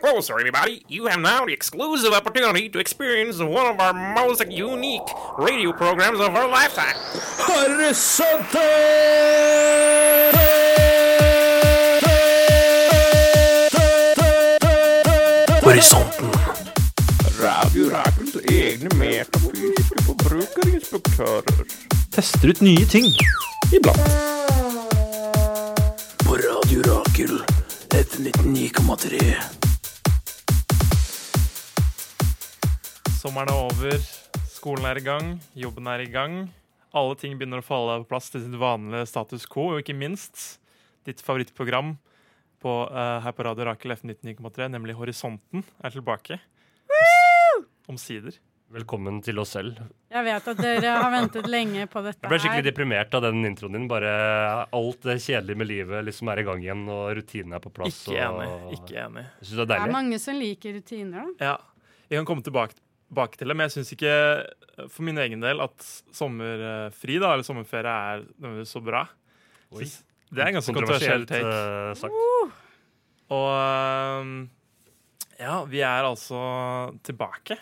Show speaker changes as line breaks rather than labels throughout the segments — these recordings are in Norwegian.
closer, everybody. You have now the exclusive opportunity to experience one of our most unique radio programs of our lifetime.
Horisonte!
Horisonten.
Radio Rakels egne metafysiske forbrukerinspektører.
Tester ut nye ting.
Iblant.
På Radio Rakel. F99,3.
Sommeren er over, skolen er i gang, jobben er i gang. Alle ting begynner å falle på plass til sitt vanlige status quo, og ikke minst ditt favorittprogram på, eh, her på Radio Rakel F99,3, nemlig Horisonten, er tilbake. Omsider.
Velkommen til oss selv.
Jeg vet at dere har ventet lenge på dette
Jeg ble skikkelig
her.
deprimert av den introen din. Bare alt det kjedelige med livet liksom er i gang igjen, og rutinene er på plass.
Ikke
og...
enig. Ikke enig.
Jeg synes det er
Det er
deilig.
mange som liker rutiner, da.
Ja, Vi kan komme tilbake, tilbake til det, men jeg syns ikke eh, for min egen del at sommerfri da, eller sommerferie er nødvendigvis så bra.
Oi.
Synes- Det er en ganske kontroversiell take.
eh, sagt.
Og ehm, ja, vi er altså tilbake.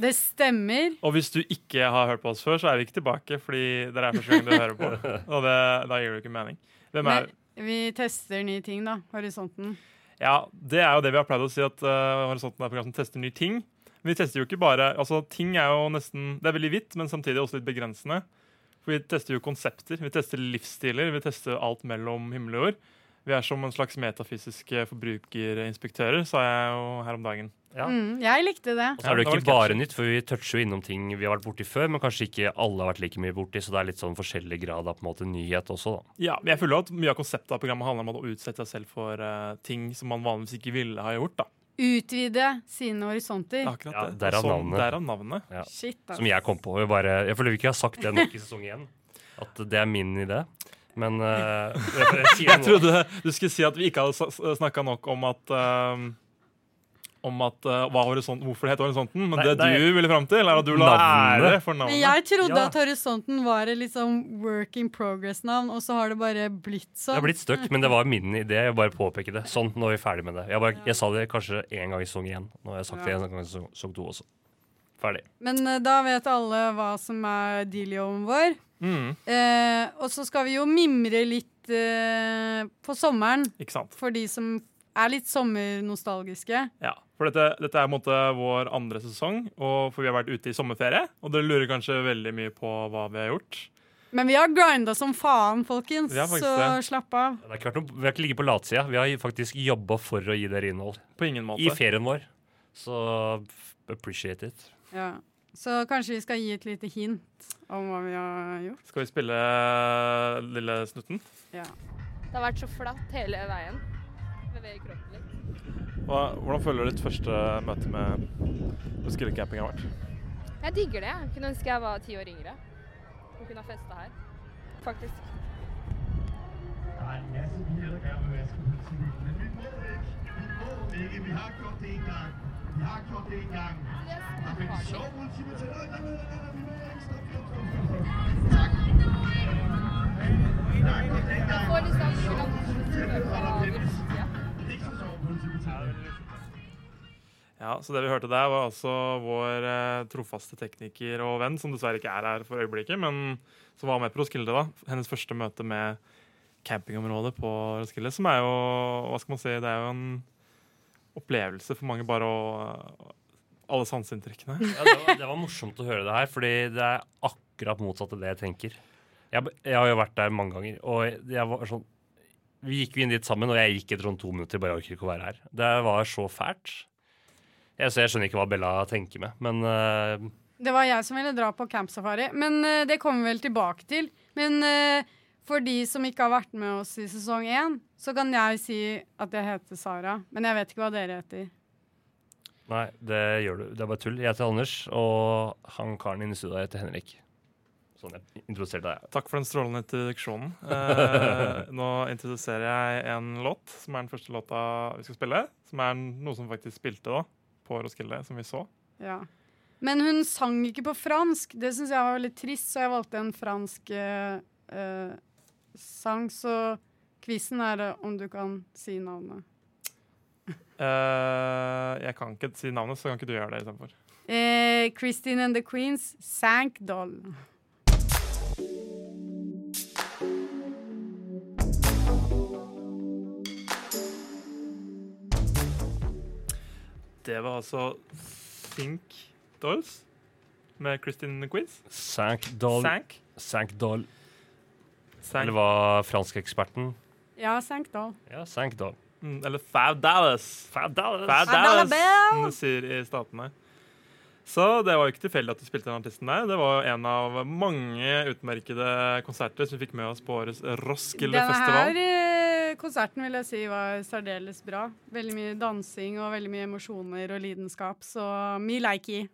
Det stemmer.
Og hvis du ikke har hørt på oss før, så er vi ikke tilbake, fordi det er første gang du hører på. Og det, da gir det jo ikke mening. Hvem er
Men vi tester nye ting, da. Horisonten.
Ja, det er jo det vi har pleid å si, at eh, Horisonten er et program som tester nye ting. Men vi tester jo ikke bare Altså, ting er jo nesten Det er veldig vidt, men samtidig også litt begrensende. For vi tester jo konsepter, vi tester livsstiler, vi tester alt mellom himmel og jord. Vi er som en slags metafysiske forbrukerinspektører, sa jeg jo her om dagen.
Ja.
Mm, jeg likte det.
Og så er det
Ja,
jo
det
ikke
var
bare nytt, for vi toucher jo innom ting vi har vært borti før, men kanskje ikke alle har vært like mye borti, så det er litt sånn forskjellig grad av på en måte nyhet også, da.
Ja, men jeg føler jo at Mye av konseptet av programmet handler om å utsette seg selv for eh, ting som man vanligvis ikke ville ha gjort. da.
Utvide sine horisonter.
Akkurat
Ja,
det.
derav
Sånn-
navnet.
derav navnet.
Shit, altså. da.
Som jeg kom på. Jeg, bare, jeg føler vi ikke har sagt det nok i sesong én, at det er min idé. Men eh, jeg, jeg,
Jeg
sier det nå.
trodde du skulle si at vi ikke hadde snakka nok om at eh, om at, eh, hva horisont, hvorfor det heter Horisonten. Men
Nei,
det
nei.
du ville fram til, er at du la
Navnet.
ære for
Men
navnet.
jeg trodde
Ja.
at Horisonten var et litt sånn work in progress-navn, og så har det bare blitt
Det
sånn.
har blitt støkk, men det var min idé. Jeg bare påpeker det. Sånn, nå er vi ferdig med det. Jeg, bare, jeg sa det kanskje én gang i sesong én. Nå har jeg sagt det én gang i sesong sesong to også. Ferdig.
Men eh, da vet alle hva som er dealioen vår.
Mm,
Eh, og så skal vi jo mimre litt eh, på sommeren,
ikke sant?
for de som er litt sommernostalgiske.
Ja, for dette, dette er på en måte vår andre sesong, og for vi har vært ute i sommerferie. Og dere lurer kanskje veldig mye på hva vi har gjort.
Men vi har grinda som faen, folkens,
Vi har faktisk
så
det.
slapp av.
Det har ikke vært noe, vi har ikke ligget på latsida. Vi har faktisk jobba for å gi dere innhold.
På ingen måte.
I ferien vår. Så f- appreciate it.
Ja. Så kanskje vi skal gi et lite hint om hva vi har gjort.
Skal vi spille eh, Lille Snutten?
Ja.
Det har vært så flatt hele veien. Beveger kroppen litt.
Hva, hvordan føler du ditt første møte med med Skillecamping har vært?
Jeg digger det. Jeg kunne ønske jeg var ti år yngre og kunne ha festa her. Faktisk. Jeg får litt sånn
Ja, så det vi hørte der var altså vår eh, trofaste tekniker og venn, som dessverre ikke er her for øyeblikket, men som var med på Roskilde da. Hennes første møte med campingområdet på Roskilde, som er jo, hva skal man si, det er jo en opplevelse for mange bare å alle sanseinntrykkene.
Ja, det, var, det var morsomt å høre det her, fordi det er akkurat motsatt av det jeg tenker. Jeg, b- jeg har jo vært der mange ganger, og jeg, jeg var sånn Vi gikk jo inn dit sammen, og jeg gikk etter sånn to minutter. Bare jeg orker ikke å være her. Det var så fælt. Jeg, så jeg skjønner ikke hva Bella tenker med, men eh,
Det var jeg som ville dra på campsafari, men eh, det kommer vi vel tilbake til. Men eh, for de som ikke har vært med oss i sesong én, så kan jeg si at jeg heter Sara. Men jeg vet ikke hva dere heter.
nei, det gjør du. Det er bare tull. Jeg heter Anders, og han karen inne i studio heter Henrik. Sånn jeg introduserte deg.
Takk for den strålende introduksjonen. Eh, nå introduserer jeg en låt, som er den første låta vi skal spille. Som er noe som faktisk spilte da, på Roskilde, som vi så.
Ja. Men hun sang ikke på fransk. Det syns jeg var veldig trist, så jeg valgte en fransk eh, eh, sang. Så quizen er eh, om du kan si navnet.
Eh, jeg kan ikke si navnet, så kan ikke du gjøre det istedenfor.
Eh, Christine and the Queens, Sank Doll.
Det var altså Think Dolls med Christine Quiz.
Sank doll.
Sank.
Sank doll.
Sank.
Eller
Eller,
var franskeksperten?
Ja, Sank Doll.
Ja, sank doll.
mm, eller Fav Dallas.
Faen, da er det-
Fav Dallas,
Dallas Bell.
som de sier i statene. Så det var jo ikke tilfeldig at vi spilte den artisten der. Det var jo en av mange utmerkede konserter som vi fikk med oss på årets Roskilde
Denne her
festival.
eh, konserten vil jeg si var særdeles bra. Veldig mye dansing og veldig mye emosjoner og lidenskap, så me likey.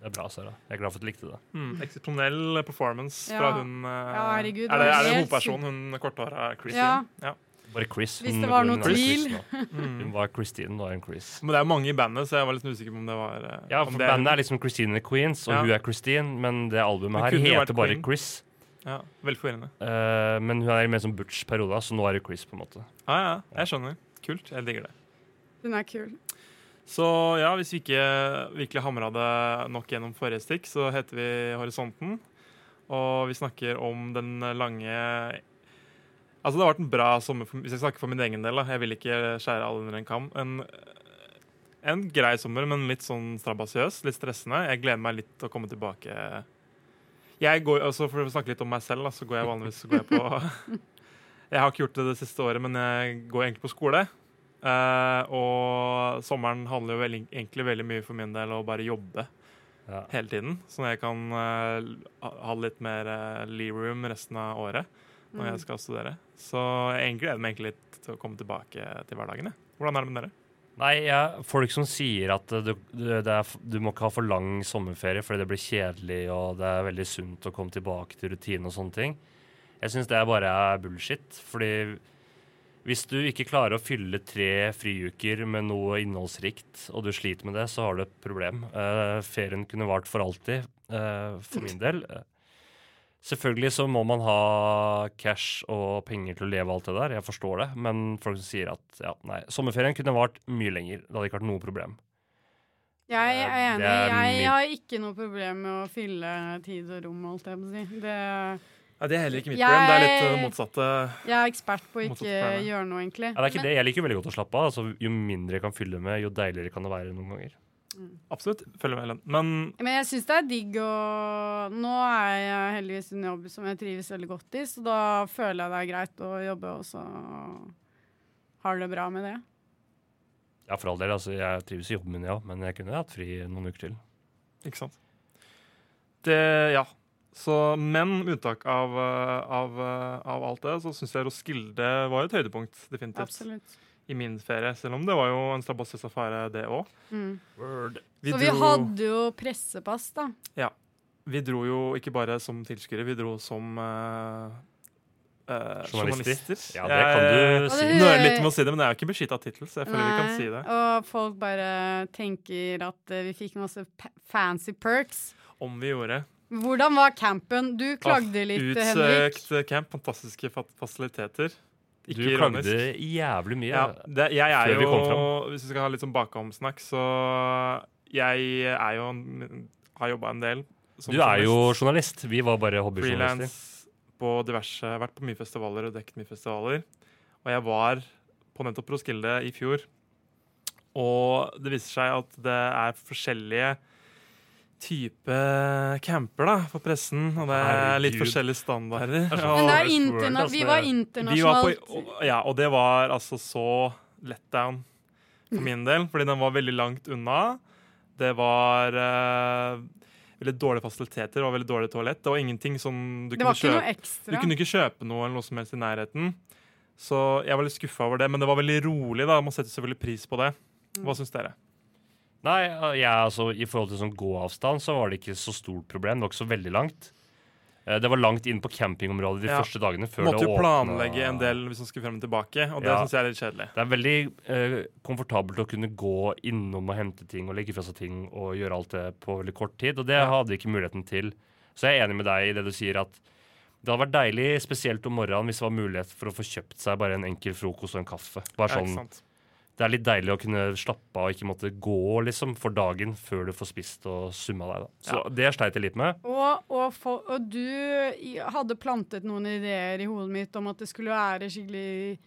Det er bra, Sara. Jeg er glad for at du likte det.
Mm, eksepsjonell performance
Ja.
fra hun eh,
Ja, herregud, det
Er
var
det, er det
helt
hovedpersonen, hun korthåra Christine?
Ja.
Ja. Mm.
Bare Chris.
Hvis
hun-
det var noe
hun er Chris
tvil.
nå. Hun var Christine, nå er hun Chris.
Men det er jo mange i bandet, så jeg var litt usikker på om det var eh,
Ja,
om
for
det er-
bandet er liksom Christine and the Queens, og
Ja.
hun er Christine, men det albumet
Hun
her
kunne jo
heter
vært
bare
Queen.
Chris.
ja, Veldig forvirrende.
Eh, men hun er mer som Butch perioda, så nå er hun Chris, på en måte.
Ja, ja, jeg skjønner. Kult. Jeg digger det.
Den er kul.
Så ja, hvis vi ikke virkelig hamra det nok gjennom forrige stikk, så heter vi Horisonten. Og vi snakker om den lange Altså, det har vært en bra sommer, for, hvis jeg snakker for min egen del. da. Jeg vil ikke skjære alle under en kam. En, en grei sommer, men litt sånn strabasiøs. Litt stressende. Jeg gleder meg litt til å komme tilbake. Jeg går, altså For å snakke litt om meg selv, da, så går jeg vanligvis så går jeg på Jeg har ikke gjort det det siste året, men jeg går egentlig på skole. Eh, og sommeren handler jo veldig, egentlig veldig mye for min del å bare jobbe
Ja.
hele tiden. Sånn at jeg kan eh, ha- ha litt mer uh, leave-room resten av året når
Mm.
jeg skal studere. Så jeg gleder meg egentlig litt til å komme tilbake til hverdagen. jeg. Hvordan er det med dere?
Nei, jeg- folk som sier at eh, du, du, det er, f- du må ikke ha for lang sommerferie fordi det blir kjedelig, og det er veldig sunt å komme tilbake til rutinen og sånne ting. Jeg syns det bare er bullshit. Fordi hvis du ikke klarer å fylle tre friuker med noe innholdsrikt, og du sliter med det, så har du et problem. Eh, ferien kunne vart for alltid, eh, for min del. Eh, Selvfølgelig så må man ha cash og penger til å leve alt det der, jeg forstår det, men folk som sier at ja, nei, sommerferien kunne vart mye lenger, det hadde ikke vært noe problem.
Jeg er
Eh, det
enig.
er
Jeg
min-
har ikke noe problem med å fylle tid og rom, holdt jeg på å si. Det,
det er heller ikke
mitt problem. Det er litt,
Det er
eh,
litt motsatte.
jeg er ekspert på å
Motsatt
ikke
pleier det.
gjøre noe, egentlig.
Ja, det er ikke
Men-
det, jeg liker veldig godt å slappe av, altså jo mindre jeg kan fylle med, jo deiligere kan det være noen ganger.
Absolutt. Følger med, Helen. Men
Men jeg syns det er digg å Nå er jeg heldigvis i en jobb som jeg trives veldig godt i, så da føler jeg det er greit å jobbe, og så har det bra med det.
Ja, for all del, altså jeg trives i jobben min, ja, men jeg kunne hatt fri noen uker til.
Ikke sant. Det, ja. Så, men med unntak av, eh, av, eh, av alt det, så syns jeg Roskilde var et høydepunkt. definitivt.
Absolutt.
I min ferie, selv om det var jo en strabasiøs affære, det òg.
Mm.
Vi,
så vi
dro-
hadde jo pressepass, da.
vi dro jo ikke bare som tilskuere, vi dro som eh, eh,
Journalister.
journalister. Eh,
Ja, det kan du
Og
si.
det-
Nøler litt med å si det, men det er jo ikke beskytta tittel, så jeg føler vi kan
Nei,
si det.
Og folk bare tenker at eh, vi fikk masse pa- fancy perks.
Om vi gjorde.
Hvordan var campen? Du klagde litt,
Ah,
Henrik.
Utsøkt camp, fantastiske fa- fasiliteter.
Du
Ikke ironisk.
klagde jævlig mye.
Ja, det, jeg er
Før vi kom
jo, hvis vi skal ha litt sånn bakomsnakk, så jeg er jo en, har jobba en del. som
Du er jo
journalist,
journalist, vi var bare hobbyjournalister.
freelance på diverse, har vært på mye festivaler og dekket mye festivaler. Og jeg var på nettopp Roskilde i fjor, og det viser seg at det er forskjellige type camper da, for pressen, og det er litt
Herregud.
forskjellige standarder.
Men det er
og-
interna
altså,
vi var
vi var på,
internasjonalt.
og- ja, og det var altså så letdown for min del, fordi den var veldig langt unna. Det var eh, veldig dårlige fasiliteter og veldig dårlig toalett. Det var ingenting som du
Det
kunne
var ikke noe
kjøpe. Du
ekstra.
kunne ikke kjøpe noe eller noe som helst i nærheten. Så jeg var litt skuffa over det, men det var veldig rolig. da, Man setter selvfølgelig pris på det.
Mm.
Hva syns dere?
Nei, jeg, altså, i forhold til sånn gåavstand så var det ikke så stort problem. Det var ikke så veldig langt. Eh, Det var langt inn på campingområdet de
Ja.
første dagene før
Måtte
det
jo
åpna.
planlegge en del hvis man skulle frem og tilbake, og det
Ja.
synes syns jeg er litt kjedelig.
Det er veldig eh, komfortabelt å kunne gå innom og hente ting og legge fra seg ting og gjøre alt det på veldig kort tid, og det hadde ikke muligheten til. Så jeg er enig med deg i det du sier at det hadde vært deilig, spesielt om morgenen, hvis det var mulighet for å få kjøpt seg bare en enkel frokost og en kaffe. Bare
Ja, ikke
sånn
sant?
det er litt deilig å kunne slappe av og ikke måtte gå liksom, for dagen før du får spist og summa deg. Da. Så det sleit jeg litt med.
Og, og, for, og du i- hadde plantet noen ideer i hodet mitt om at det skulle være skikkelig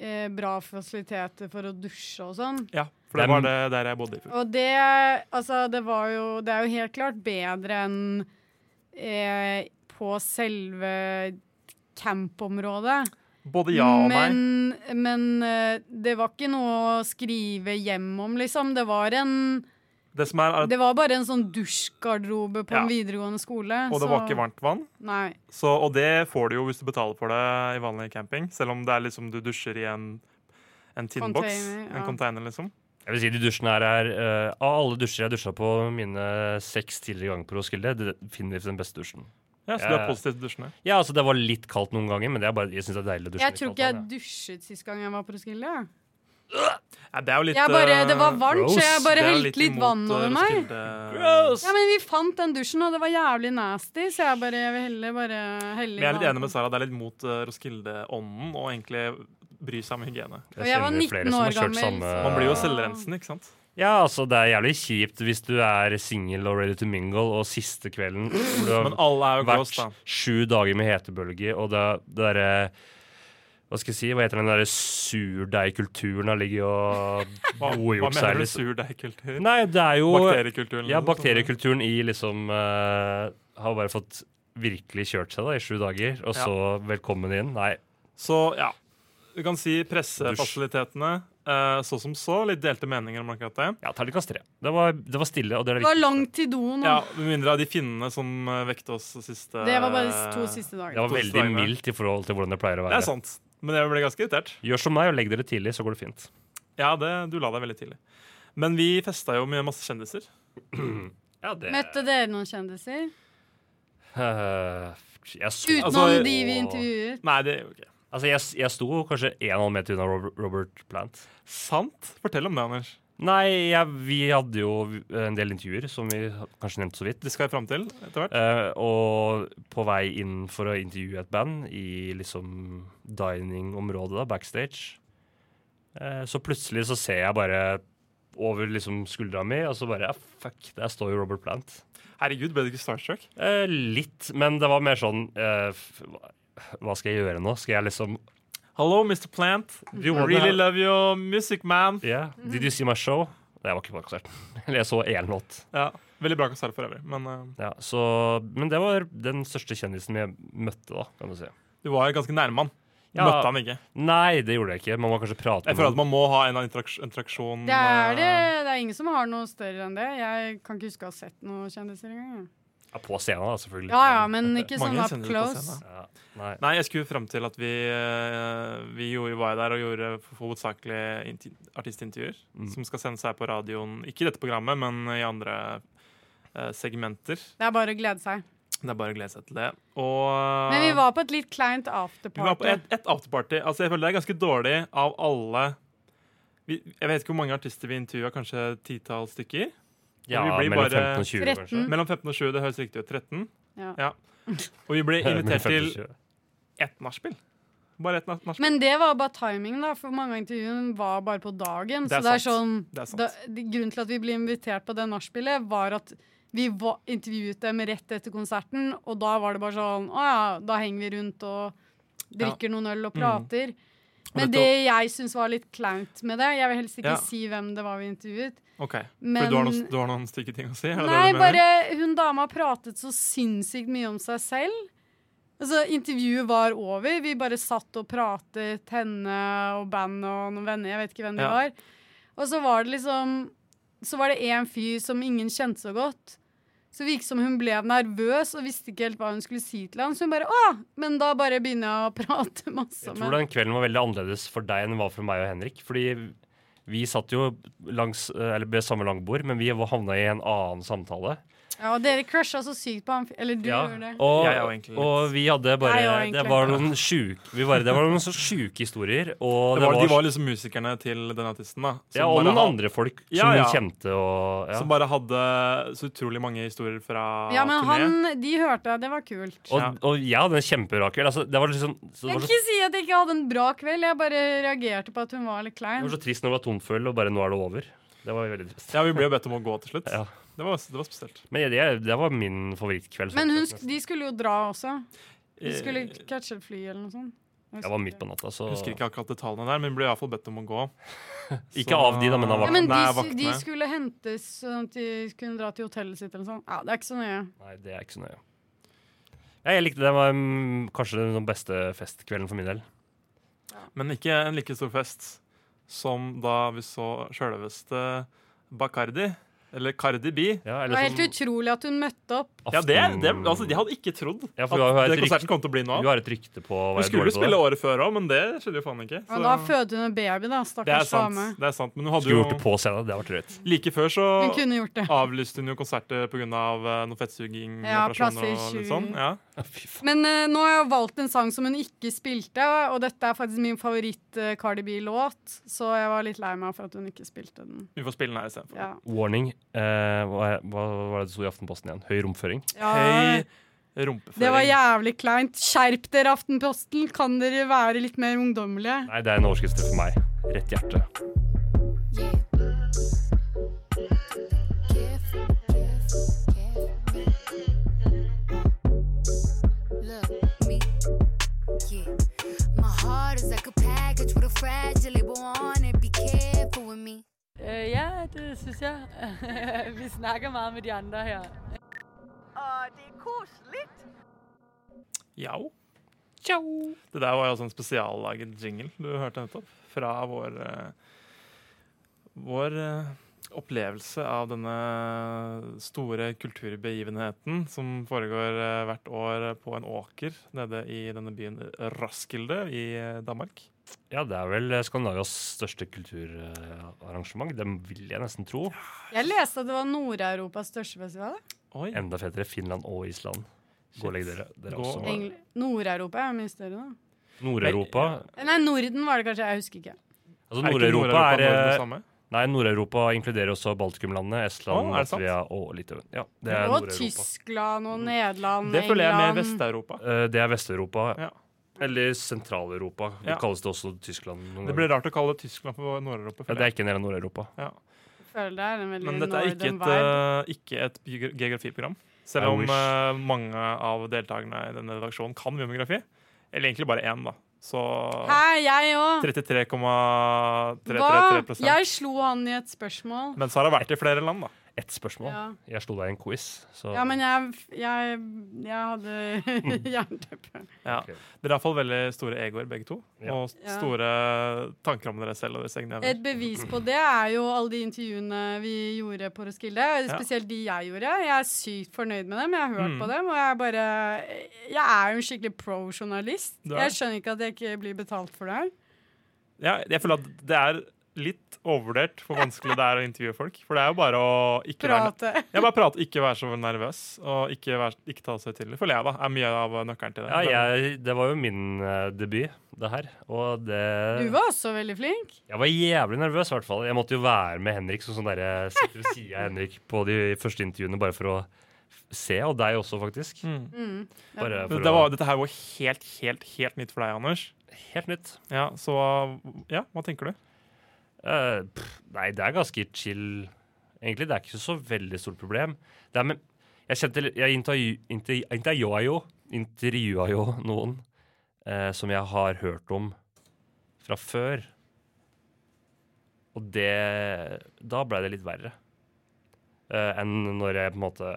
eh, bra fasiliteter for å dusje og sånn.
Ja, for det
Dem-
var det der jeg bodde i fjor.
Og det, altså, det var jo Det er jo helt klart bedre enn eh, på selve campområdet.
Både ja og nei.
Men, men eh, det var ikke noe å skrive hjem om, liksom. Det var, en,
Det som er, er
det var bare en sånn dusjgarderobe på
Ja.
en videregående skole.
og det
så-
var ikke varmt vann.
Nei.
Så, og det får du jo hvis du betaler for det i vanlig camping. Selv om det er liksom du dusjer i en, en tinnboks.
Container, ja.
En container, liksom.
Jeg vil si de dusjene her er eh, Av alle dusjer jeg dusja på mine seks tidligere ganger på Roskilde, det er definitivt den beste dusjen.
Ja, Så du er
Ja.
positiv til dusjene.
Ja, altså Det var litt kaldt noen ganger, men det er bare, jeg synes det er deilig å dusje
Jeg
litt
tror
kaldt,
ikke jeg
da, ja.
dusjet sist gang jeg var på Roskilde.
Nei, det er jo litt
Jeg bare,
eh,
det var varmt, så jeg
gross.
bare
det er jo
helte litt,
imot,
vann
eh,
over meg.
Roskilde-
Ja, Men vi fant den dusjen, og det var jævlig nasty, så jeg bare jeg vil heller bare helle
Men jeg er litt
vann.
enig med Sara. Det er litt mot eh, Roskilde-ånden å egentlig bry seg om hygiene.
Og jeg var
kjenner flere
19
som har
år
kjørt
gammel,
samme-
så-
Man blir jo selvrensende, ikke sant?
Ja, altså Det er jævlig kjipt hvis du er singel og ready to mingle, og siste kvelden hvor du har
Men alle er jo gross,
vært
da.
sju dager med hetebølge, og det, det derre Hva skal jeg si, hva heter den derre surdeigkulturen har ligget og
Hva, hva
godgjort seg?
mener du
Liksom.
surdeigkultur?
Nei, det er jo
Bakteriekulturen?
Ja,
liksom.
bakteriekulturen i liksom eh, Har bare fått virkelig kjørt seg da i sju dager, og
Ja.
så velkommen inn. Nei,
Så ja, du kan si pressefasilitetene eh, så som så. Litt delte meninger om akkurat det.
ja, terningkast tre. Det var, det var stille, og det er
Det
det
var
viktigste.
langt til doen.
Ja,
da.
Med mindre av de finnene som eh, vekte oss siste
Det var bare de
eh,
to siste
Det
dagene.
var veldig
Tosdagen, ja.
mildt i forhold til hvordan det pleier å
Det
være.
er sant. Men jeg ble ganske irritert.
Gjør som meg og legg dere tidlig, så går det fint.
Ja, det, du la deg veldig tidlig. Men vi festa jo med masse kjendiser.
Ja, det
Møtte dere noen kjendiser?
Eh, jeg, så,
Utenom
Altså,
de vi intervjuet?
Nei, det gjorde vi ikke.
altså, jeg, jeg sto kanskje en og en halv meter unna Robert, Robert Plant.
Sant? Fortell om det, Anders.
Nei, jeg, vi hadde jo en del intervjuer, som vi kanskje nevnte så vidt.
Det skal jeg fram til etter hvert.
Eh, og på vei inn for å intervjue et band i liksom dining-området, da, backstage, eh, så plutselig så ser jeg bare over liksom skuldra mi, og så bare ja, fuck, der står jo Robert Plant.
Herregud, ble du ikke starstruck?
Eh, litt, men det var mer sånn eh, f- hva- Hva skal jeg gjøre nå? Skal jeg liksom
Hello, Mr. Plant. You really love your music, man.
yeah,
Mhm.
Did you see my show? Nei, jeg var ikke på konserten. Eller jeg så én låt.
Ja, Veldig bra konsert for øvrig, men eh,
Ja, så, men det var den største kjendisen jeg møtte, da, kan du si.
du var ganske nærme han. Du
Ja.
Møtte han ikke.
Nei, det gjorde jeg ikke. Man må kanskje prate
Jeg
med
føler at man må ha en interaks- interaksjon.
Det er, det,
eh,
det er ingen som har noe større enn det. Jeg kan ikke huske å ha sett noen kjendiser engang. jeg.
Ja, på scenen, da, selvfølgelig.
Ja ja, men ikke sånn
eh, Mange
up
kjendiser på
close.
scenen, da.
Ja, nei.
Nei, jeg skulle frem til at vi, eh, vi gjorde, var der og gjorde for- hovedsakelig inti- artistintervjuer. Som skal sendes her på radioen. Ikke i dette programmet, men i andre eh, segmenter.
Det er bare å glede seg.
Det er bare å glede seg til det. Og
Men vi var på et litt kleint
Ah. Vi var på
afterparty.
et, et afterparty. Altså, jeg føler det er ganske dårlig av alle vi, Jeg vet ikke hvor mange artister vi intervjua, kanskje et titall stykker?
Ja,
vi blir
mellom
bare-
15 og 20, kanskje.
13.
Mellom 15 og 20, det høres riktig ut. 13.
Ja.
Og vi ble invitert til
Mellom 15 og 20.
ett nachspiel. Bare ett nach- nachspiel.
Men det var bare timing, da, for mange av intervjuene var bare på dagen.
Det er
så det er sånn
sant. Det er sant.
da, de- Grunnen til at vi ble invitert på det nachspielet, var at vi va intervjuet dem rett etter konserten, og da var det bare sånn Å ja, da henger vi rundt og drikker noen øl
Mm.
og prater. Men det jeg syns var litt kleint med det Jeg vil helst ikke
Ja.
si hvem det var vi intervjuet.
OK.
Men-
For du har noen, du har noen stygge ting å si? Er det
Nei,
det du mener?
bare hun dama pratet så sinnssykt mye om seg selv. Altså, intervjuet var over. Vi bare satt og pratet, henne og bandet og noen venner. Jeg vet ikke hvem de
Ja.
var. Og så var det liksom Så var det én fyr som ingen kjente så godt. Så det virket som hun ble nervøs og visste ikke helt hva hun skulle si til han. Så hun bare Å! Men da bare begynner jeg å prate masse
Jeg
om
tror den kvelden var veldig annerledes for deg enn den var for meg og Henrik. Fordi vi satt jo langs, eh, eller ved samme langbord, men vi var- havna i en annen samtale.
Ja, og dere crusha så sykt på han fyren. Eller du
Ja,
gjorde det.
og,
Jeg òg, egentlig.
og vi hadde
Jeg
bare
òg,
Det
egentlig.
var noen sjuke vi bare, Det var noen så sjuke historier. Og
Det
det
var, de var
var,
liksom musikerne til den artisten, da. Som,
ja, og
bare
noen
ha-
andre folk som
Ja, ja.
vi kjente og ja.
som bare hadde så utrolig mange historier fra
Ja, men
turné.
han De hørte jeg. Det var kult.
Og, og jeg hadde en kjempebra kveld. Altså, det var liksom så det
Jeg
var
vil
så
ikke si at jeg ikke hadde en bra kveld. Jeg bare reagerte på at hun var litt
Det
klein.
var så trist når det var tom håndfull, og bare nå er det over. Det var veldig trist.
Ja, vi ble jo bedt om å gå til slutt.
Ja.
Det, var, det var spesielt.
Men det, det var min favorittkveld. sånn
Men hun,
sett,
sk-
nesten.
de skulle jo dra også. De
Eh,
skulle catche et fly eller noe sånt. Jeg
Jeg var
husker
midt på natta, så
Jeg husker ikke altså. akkurat detaljene der, men vi ble iallfall bedt om å gå.
Ikke av de, da, men av
Ja, men de,
Nei,
s- de
vaktene.
skulle hentes sånn at de kunne dra til hotellet sitt eller sånn. Ja, det er ikke så nøye.
Nei, det er ikke så nøye. Ja, jeg likte det. Det var mm, kanskje den beste festkvelden for min del.
Men ikke en like stor fest som da vi så sjølveste Bacardi, eller Cardi B.
Ja, sånn
Det var helt utrolig at hun møtte opp.
Ja, det, det altså, Jeg hadde ikke trodd
Ja,
at
for du har jo et
det konserten
rykte-
kom til å bli noe av.
Du har et rykte på hva
Hun
jeg er
skulle
dårlig
jo
på.
spille året før òg, men det skjedde jo faen ikke.
Ja,
så-
da fødte hun en baby, da.
Altså, det er
Stakkars dame.
sant. det er sant, Men hun hadde
Skulle
jo
gjort det på scenen. Det hadde vært drøyt.
Like før så
Hun kunne gjort det.
avlyste hun jo konserter pga. Av eh, noen fettsuging
Ja,
operasjoner
plass i
og litt
tjuv.
sånn. Ja.
Men eh, nå har jeg valgt en sang som hun ikke spilte, og dette er faktisk min favoritt-Cardi B-låt, så jeg var litt lei meg for at hun ikke spilte den.
Vi får spille den her istedenfor.
Ja.
Warning. Eh, hva, hva var det det sto i Aftenposten igjen? Høy romføring.
Ja,
Høy rumpeføring.
det var jævlig kleint. Skjerp dere, Aftenposten! Kan dere være litt mer ungdommelige?
Nei, det er en overskrift for meg. Rett hjerte.
Look, me, yeah. My heart is like a package with a fragile label on it. Be careful with me.
Øh, ja, det synes jeg. Vi snakker meget med de andre her.
Jau. Det der var jo også en spesiallaget jingle du hørte nettopp. Fra vår eh, Vår eh, opplevelse av denne store kulturbegivenheten som foregår eh, hvert år på en åker nede i denne byen Raskilde i eh, Danmark.
Ja, det er vel eh, Skandinavias største kulturarrangement. Det vil jeg nesten tro.
Jeg leste at det var Nord-Europas største festival. da.
Oi.
Enda fetere Finland og Island. Gå og legg dere. dere
Gå.
også.
Engl- Nord-Europa er jo mye større, da.
Nord-Europa
Nei, Norden var det kanskje. Jeg husker ikke.
altså,
Er ikke
Nord-Europa
Nord-Europa
er,
Norden det
eh,
samme?
Nei, Nord-Europa inkluderer også Baltikumlandene, Estland,
Å, er det sant?
Latvia og Litauen. Ja, det er
Og
Nord-Europa.
Tyskland og Nederland,
Mm. Det føler jeg er mer
England
Vest-Europa.
Eh, Det er Vest-Europa.
Ja.
Eller Sentral-Europa. Det
Ja.
kalles det også Tyskland. noen
Det blir
ganger.
rart å kalle Tyskland for Nord-Europa.
Ja,
føler
det
jeg.
er ikke en del av Nord-Europa.
føler det er en veldig
Men dette er ikke
northern
et,
vibe.
eh, ikke et biogra- geografiprogram.
I
Selv om
wish.
eh, mange av deltakerne i denne redaksjonen kan biografi. Eller egentlig bare én, da. Så
Hæ, jeg òg!
33,333
Hva? Jeg slo han i et spørsmål.
Men så har det vært i flere land, da.
Ett spørsmål.
Ja.
Jeg slo deg i en quiz. Så.
Ja, men jeg, jeg, jeg
Mm.
hadde jernteppe.
Ja.
Ok.
Dere har iallfall veldig store egoer, begge to.
Ja.
Og s-
Ja.
store tanker om dere selv og deres egne evner.
Et bevis på det er jo alle de intervjuene vi gjorde på Roskilde. Spesielt de jeg gjorde. Jeg er sykt fornøyd med dem. Jeg har hørt
Mm.
på dem, og jeg bare Jeg er jo en skikkelig pro-journalist.
Du er.
Jeg skjønner ikke at jeg ikke blir betalt for det her.
Ja, jeg føler at det er litt overvurdert hvor vanskelig det er å intervjue folk. For det er jo bare å ikke være
Prate.
Ja, bare prate, ikke være så nervøs, og ikke, være, ikke ta seg til. Føler jeg, da. Er mye av nøkkelen til det.
Ja, jeg, det var jo min eh, debut, det her. Og det
Du var også veldig flink.
Jeg var jævlig nervøs, i hvert fall. Jeg måtte jo være med Henrik, sånn som dere sitter ved siden av Henrik på de første intervjuene, bare for å f- se. Og deg også, faktisk.
Mm.
Mm.
Bare
Det,
for
det
å
var, dette her var helt, helt, helt nytt for deg, Anders.
Helt nytt.
Ja, så ja, hva tenker du?
Eh, pff, nei, det er ganske chill. Egentlig, det er ikke så veldig stort problem. Det er med, jeg kjente, litt- jeg intervju- intervju- intervjua jo, intervjua jo noen eh, som jeg har hørt om fra før. Og det Da blei det litt verre eh, enn når jeg på en måte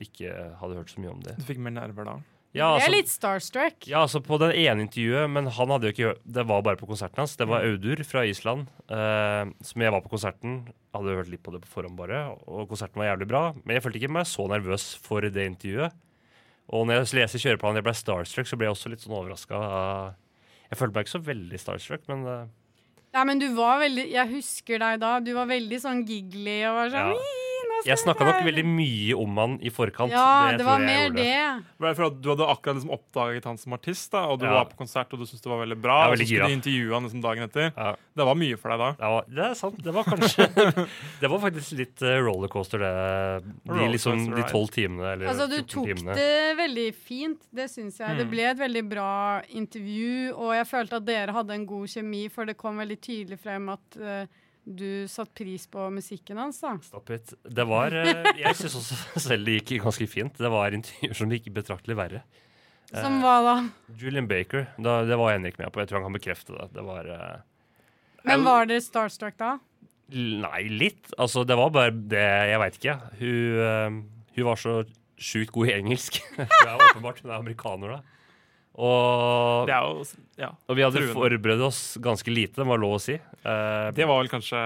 ikke hadde hørt så mye om det.
Du fikk mer nerver da.
Ja, altså-
jeg er litt starstruck.
ja, altså på det ene intervjuet, men han hadde jo ikke hørt Det var bare på konserten hans. Det var Audur fra Island eh, som jeg var på konserten. Hadde hørt litt på det på forhånd, bare. Og konserten var jævlig bra. Men jeg følte ikke meg så nervøs for det intervjuet. Og når jeg leser kjøreplanen jeg ble starstruck, så ble jeg også litt sånn overraska. Jeg følte meg ikke så veldig starstruck, men eh,
Nei, men du var veldig Jeg husker deg da. Du var veldig sånn giggly og var sånn
Ja.
«Ii, Nå
Jeg snakka nok veldig mye om han i forkant.
Ja, det
tror
var
jeg
mer
gjorde.
det.
Var det For at du hadde akkurat liksom oppdaget han som artist, da, og du
Ja.
var på konsert og du syntes det var veldig bra.
Jeg var
Og så
veldig
skulle
gira.
du intervjue han liksom dagen etter.
Ja.
Det var mye for deg da.
Det var, det er sant. Det var kanskje Det var faktisk litt eh, rollercoaster, det. De
Rollercoaster
liksom, de
ride.
tolv timene. Eller
Altså, du
14
tok
timene.
det veldig fint, det syns jeg. Det ble et veldig bra intervju, og jeg følte at dere hadde en god kjemi, for det kom veldig tydelig frem at eh, du satte pris på musikken hans, da.
Stop it. Det var eh, Jeg syns også selv det gikk ganske fint. Det var intervjuer som gikk betraktelig verre.
Som hva da?
Julian Baker, da, det var Henrik med på. Jeg tror han kan bekrefte det. Det var eh,
Men var dere starstruck da?
Nei, litt. Altså, det var bare det Jeg veit ikke. Hun, eh, hun var så sjukt god i engelsk. Hun er åpenbart hun er amerikaner, da. Og,
Det, er jo, ja.
og vi hadde
truende.
forberedt oss ganske lite, det var lov å si. Eh,
det var vel kanskje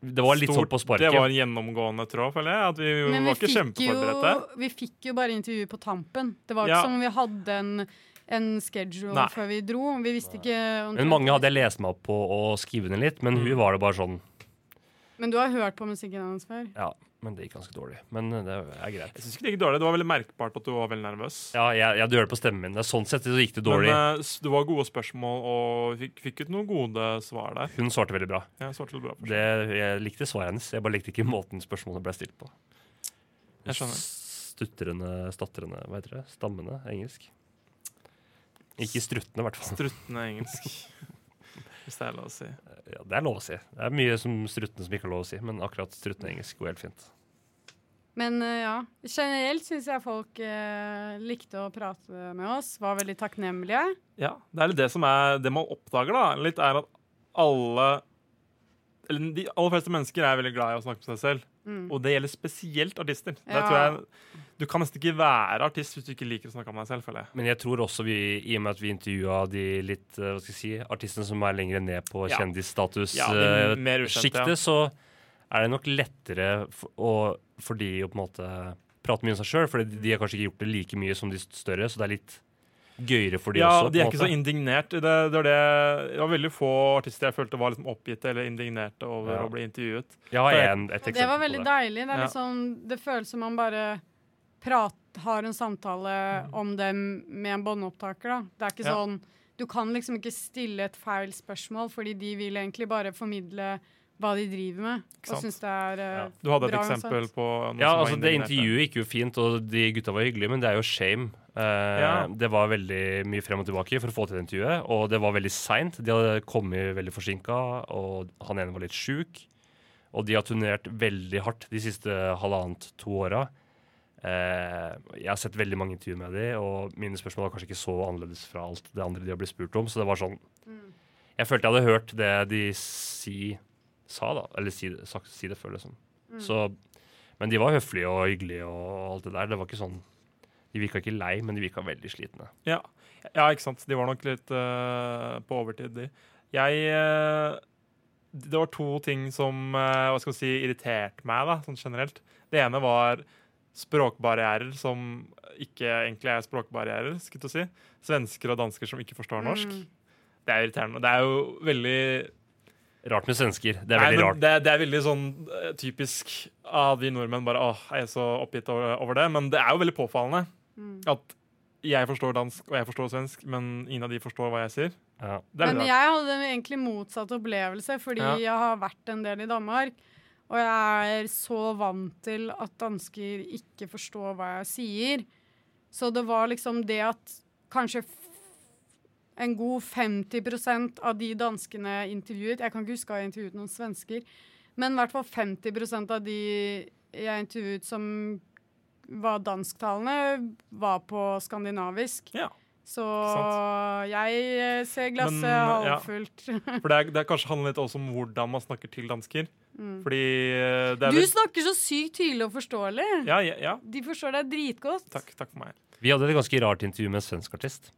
Det
det var litt sånn på sparket.
Det var en gjennomgående tråd, føler jeg. At vi
Men
var ikke
vi fikk, jo,
kjempeforberedte.
vi fikk jo bare intervju på tampen. Det var ikke
Ja.
som om vi hadde en, en schedule
Nei.
før vi dro. Vi visste ikke
Men mange hadde jeg lest meg opp på og skrevet ned litt, men
Mm.
hun var det bare sånn
Men du har hørt på musikken hans før?
Ja, men det gikk ganske dårlig. Men eh, det er greit.
Jeg synes ikke Det gikk dårlig. Det var veldig merkbart at du var veldig nervøs.
Ja, jeg, jeg, du hører på stemmen min. Det er Sånn sett så gikk det dårlig.
Men eh, s- det var gode spørsmål, og vi fikk, fikk ut noen gode svar der.
Hun svarte veldig bra.
Jeg svarte litt bra først.
Det, jeg likte svaret hennes. Jeg bare likte ikke måten spørsmålet ble stilt på.
Jeg skjønner.
Stutrende, statrende, hva heter det? Stammende engelsk. Ikke struttende, i hvert fall.
Struttende engelsk. Hvis det er lov å si.
Ja, det er lov å si. Det er mye som struttende som ikke er lov å si, men akkurat struttende engelsk går helt fint.
Men eh, ja, generelt syns jeg folk eh, likte å prate med oss, var veldig takknemlige.
Ja, det er litt det som er det man oppdager, da. Litt er at alle Eller de aller fleste mennesker er veldig glad i å snakke med seg selv. Og det gjelder spesielt artister. Der
Ja.
tror jeg Du kan nesten ikke være artist hvis du ikke liker å snakke om deg selv, føler jeg.
Men jeg tror også vi, i og med at vi intervjua de litt, eh, hva skal jeg si, artistene som er lenger ned på
Ja. Ja, de er mer ukjente, ja.
kjendisstatus-sjiktet, så er det nok lettere for, å, for de å på en måte prate mye om seg sjøl, for de har kanskje ikke gjort det like mye som de større, så det er litt gøyere for de
ja,
også. på
de er
en
ikke så
måte.
indignert. Det, det, var det, det var veldig få artister jeg følte var liksom oppgitte eller indignerte over
Ja.
å bli intervjuet.
Jeg har en, et
Og det var
eksempel på
veldig
det.
deilig. Det, er
Ja.
liksom, det føles som man bare prat, har en samtale om det med en båndopptaker. Da. Det er
Mm.
ikke
Ja.
sånn Du kan liksom ikke stille et feil spørsmål, fordi de vil egentlig bare formidle hva de driver med, og
sant?
syns det er eh,
Ja.
Du hadde et
bra
eksempel
uansett.
på noen
Ja,
som var
altså Det
indignerte.
intervjuet gikk jo fint, og de gutta var hyggelige, men det er jo shame. Eh,
Ja.
Det var veldig mye frem og tilbake for å få til det intervjuet, og det var veldig seint. De hadde kommet veldig forsinka, og han ene var litt sjuk. Og de har turnert veldig hardt de siste halvannet, to åra. Eh, jeg har sett veldig mange intervjuer med de, og mine spørsmål var kanskje ikke så annerledes fra alt det andre de har blitt spurt om, så det var sånn Jeg følte jeg hadde hørt det de si, sa, da. Eller si, det- sagt, si det før, liksom. Så men de var høflige og hyggelige og alt det der. Det var ikke sånn De virka ikke lei, men de virka veldig slitne.
Ja. ja, ikke sant. De var nok litt eh, på overtid, de. Jeg eh, Det var to ting som eh, hva skal jeg si, irriterte meg, da, sånn generelt. Det ene var språkbarrierer som ikke egentlig er språkbarrierer. skulle jeg til å si. Svensker og dansker som ikke forstår norsk. Det er irriterende. Det er jo veldig
Rart med svensker. Det er
Nei,
veldig
men
rart.
Det, det er veldig sånn eh, typisk av vi nordmenn bare åh, jeg er så oppgitt over, over det. Men det er jo veldig påfallende
Mm.
at jeg forstår dansk og jeg forstår svensk, men ingen av de forstår hva jeg sier.
Ja.
Det er litt
Men
rart.
jeg hadde egentlig motsatt opplevelse, fordi
Ja.
jeg har vært en del i Danmark. Og jeg er så vant til at dansker ikke forstår hva jeg sier. Så det var liksom det at kanskje f- en god 50 av de danskene jeg intervjuet Jeg kan ikke huske å ha intervjuet noen svensker, men i hvert fall 50 av de jeg intervjuet som var dansktalende, var på skandinavisk.
Ja.
Så
sant.
jeg eh, ser glasset
Men, ja.
halvfullt.
For det, er- det er kanskje handler litt også om hvordan man snakker til dansker. Fordi eh, det er
Mm. Du
vel-
snakker så sykt tydelig og forståelig.
ja, ja, ja.
De forstår deg dritgodt.
Takk, takk for meg.
Vi hadde et ganske rart intervju med en svensk artist.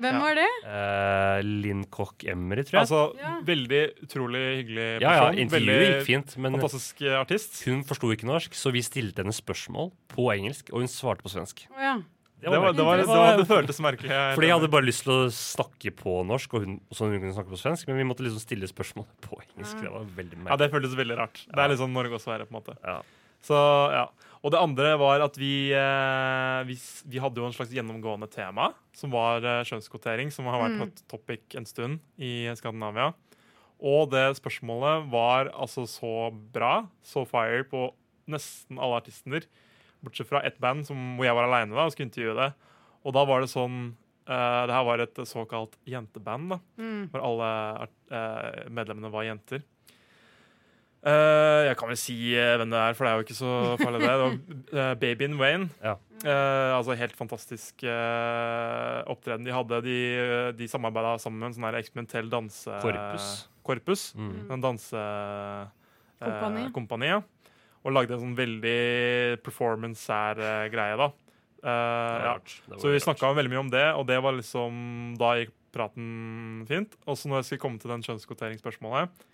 Hvem
Ja.
var det?
Eh, Linn Koch Emery, tror jeg.
Altså,
Ja.
veldig utrolig hyggelig person.
ja, ja, intervjuet
veldig
gikk fint, men
Fantastisk eh, artist.
hun forsto ikke norsk, så vi stilte henne spørsmål på engelsk, og hun svarte på svensk.
Å, ja.
Det, var, det, var, det, var, det føltes merkelig. jeg-
Fordi jeg hadde bare lyst til å snakke på norsk, og hun, så hun kunne snakke på svensk, men vi måtte liksom stille spørsmål på engelsk. Det var veldig
Ja,
merkelig.
det føltes veldig rart. Det er litt sånn Norge og Sverige, på en måte.
Ja.
Så ja. Og det andre var at vi, eh, vi, s- vi hadde jo en slags gjennomgående tema, som var eh, kjønnskvotering, som har vært
Mm.
et topic en stund i Skandinavia. Og det spørsmålet var altså så bra, så fire på nesten alle artister, bortsett fra ett band som, hvor jeg var aleine og skulle intervjue det. Og da var det sånn eh, Det her var et såkalt jenteband, da
Mm.
hvor alle art- eh, medlemmene var jenter. Eh, jeg kan vel si eh, hvem det er, for det er jo ikke så farlig, det. det var, eh, babyen Wayne.
Ja.
Eh, altså helt fantastisk eh, opptreden de hadde. De, eh, de samarbeida sammen med en sånn her eksperimentell danse...
Korpus.
korpus
Mm.
en danse... eh,
Kompani.
kompani, ja. Og lagde en sånn veldig performance-sær eh, greie, da. Eh,
Det var
ja.
rart. Det var
Så vi
rart.
snakka veldig mye om det, og det var liksom Da gikk praten fint. Og så når jeg skulle komme til den kjønnskvoteringsspørsmålet,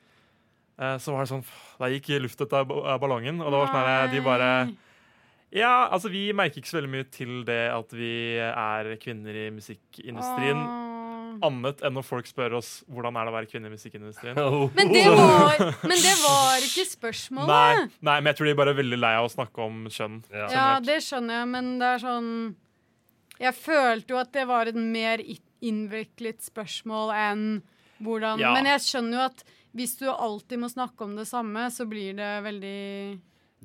eh, så var det sånn f- Da gikk luftet av ba- av ballongen, og det var sånn her, de bare
Nei.
Ja, altså, vi merker ikke så veldig mye til det at vi er kvinner i musikkindustrien.
Åh.
Annet enn når folk spør oss hvordan er det å være kvinne i musikkindustrien.
Men det var, men det var ikke spørsmålet.
Nei, nei, men jeg tror de bare er veldig lei av å snakke om kjønn.
Ja.
Ja, det skjønner jeg, men det er sånn Jeg følte jo at det var et mer i- innviklet spørsmål enn hvordan
Ja.
Men jeg skjønner jo at hvis du alltid må snakke om det samme, så blir det veldig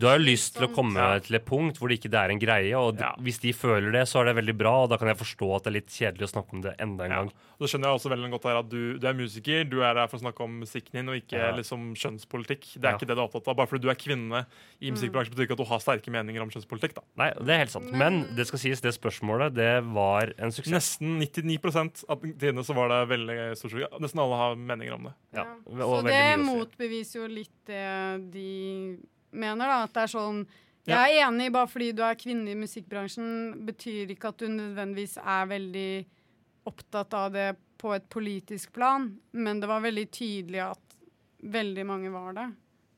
Du har jo lyst til å
Sånn.
komme
Ja.
til et punkt hvor det ikke det er en greie, og d-
Ja.
hvis de føler det, så er det veldig bra, og da kan jeg forstå at det er litt kjedelig å snakke om det enda en
Ja.
gang.
Og så skjønner jeg også veldig godt her at du, du er musiker, du er her for å snakke om musikken din, og ikke
Ja.
liksom kjønnspolitikk. Det er
Ja.
ikke det du er opptatt av. Bare fordi du er kvinne
Mm.
i musikkbransjen, betyr ikke at du har sterke meninger om kjønnspolitikk. da.
Nei, det er helt sant. Men det skal sies, det spørsmålet, det var en suksess.
Nesten 99 av tidene så var det veldig stor suksess. Nesten alle har meninger om det.
Ja.
Ja.
og
Så
veldig mye
det
å si.
motbeviser jo litt det de mener, da. At det er sånn Jeg
Ja.
er enig, bare fordi du er kvinne i musikkbransjen, betyr ikke at du nødvendigvis er veldig opptatt av det på et politisk plan, men det var veldig tydelig at veldig mange var det.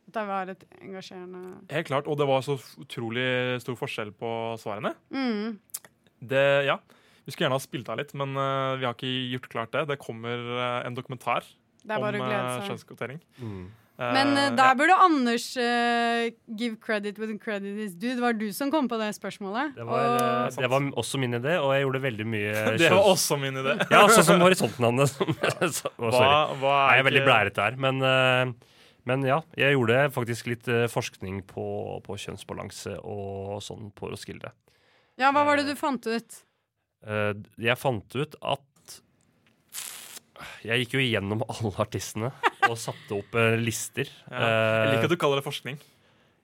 At det var et engasjerende
Helt klart, Og det var så utrolig stor forskjell på svarene.
mm.
Det, ja. Vi skulle gjerne ha spilt av litt, men eh, vi har ikke gjort klart det. Det kommer eh, en dokumentar
Det er
om
bare å
eh,
glede seg.
kjønnskvotering.
Mm.
Eh,
Men eh,
ja.
der burde Anders eh, give credit when credit is due. Det var du som kom på det spørsmålet.
Det var, eh,
sant.
det var også min idé, og jeg gjorde veldig mye
Det var
kjønns-
også min idé.
Ja, sånn som horisontnavnet. som- så- å, Sorry.
Hva, hva
Nei, Jeg er veldig
ikke-
blærete her, men, eh, men ja. Jeg gjorde faktisk litt eh, forskning på, på kjønnsbalanse og sånn på Roskilde.
Ja, hva var det du fant ut?
Eh, jeg fant ut at Jeg gikk jo gjennom alle artistene og satte opp eh, lister.
Ja. Jeg liker at du kaller det forskning.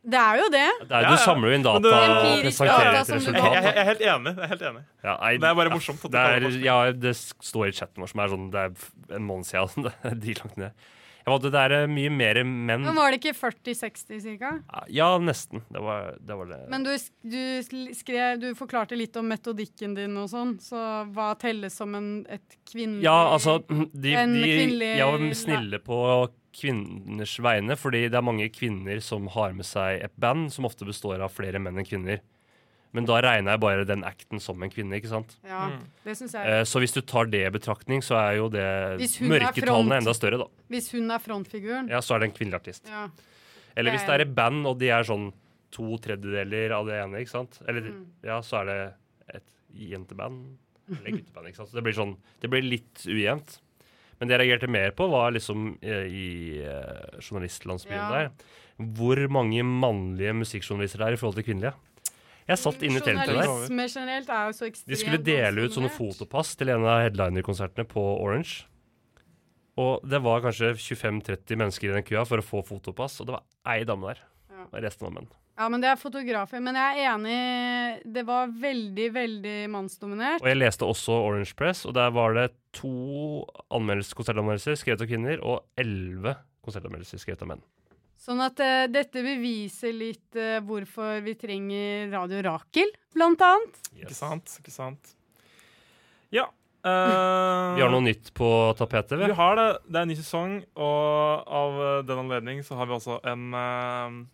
Det er jo det.
Eh, det
Ja,
er,
ja.
du samler jo inn data
Men det-
og
Empirisk
presenterer
data
et
som du
Jeg, jeg, jeg
resultat. da.
er helt enig. jeg er helt enig.
Ja, nei,
Det er bare morsomt at du
Det,
kaller det
er,
forskning.
ja, det står i chatten vår som er sånn Det er en måned siden. det er De langt ned. Jeg fant ut det er eh, mye mer menn.
Men var det ikke 40-60 cirka?
Ja, nesten. Det var det. Var det.
Men du, sk- du, sl- skrev, du forklarte litt om metodikken din og sånn, så hva telles som en, et kvinnelig
ja, altså de,
En
de,
kvinnelig-
Jeg var snille på kvinners vegne, fordi det er mange kvinner som har med seg et band som ofte består av flere menn enn kvinner. Men da regna jeg bare den acten som en kvinne. ikke sant?
Ja, det synes jeg.
Eh, Så hvis du tar det i betraktning, så er jo det
Hvis hun er front.
mørketallene enda større, da.
Hvis hun er frontfiguren.
Ja, så er det en kvinnelig artist.
Ja.
Eller hvis
Det
det
er-
er et band, og de er sånn to tredjedeler av det ene, ikke sant? Eller, ja, så er det et jenteband eller gutteband, ikke sant? Så det blir sånn, det blir litt ujevnt. Men det jeg reagerte mer på var liksom eh, i eh, journalistlandsbyen
Ja.
der, hvor mange mannlige musikkjournalister det er i forhold til kvinnelige. Jeg satt inne i teltet der.
Journalisme generelt er jo så ekstremt
De skulle dele ut sånne
mannsdominert.
fotopass til en av headliner-konsertene på Orange. Og det var kanskje 25-30 mennesker i den køa for å få fotopass, og det var ei dame der.
Ja.
Og resten var menn.
Ja, men det er fotografer. Men jeg er enig, det var veldig, veldig mannsdominert.
Og jeg leste også Orange Press, og der var det to anmeldelser, konsertanmeldelser skrevet av kvinner, og elleve konsertanmeldelser skrevet av menn.
Sånn at eh, dette beviser litt eh, hvorfor vi trenger Radio Rakel, blant annet.
Ikke sant? Ikke sant? Ja. eh,
Vi har noe nytt på tapetet,
vi
vi.
har det. Det er en ny sesong, og av eh, den anledning så har vi også en eh,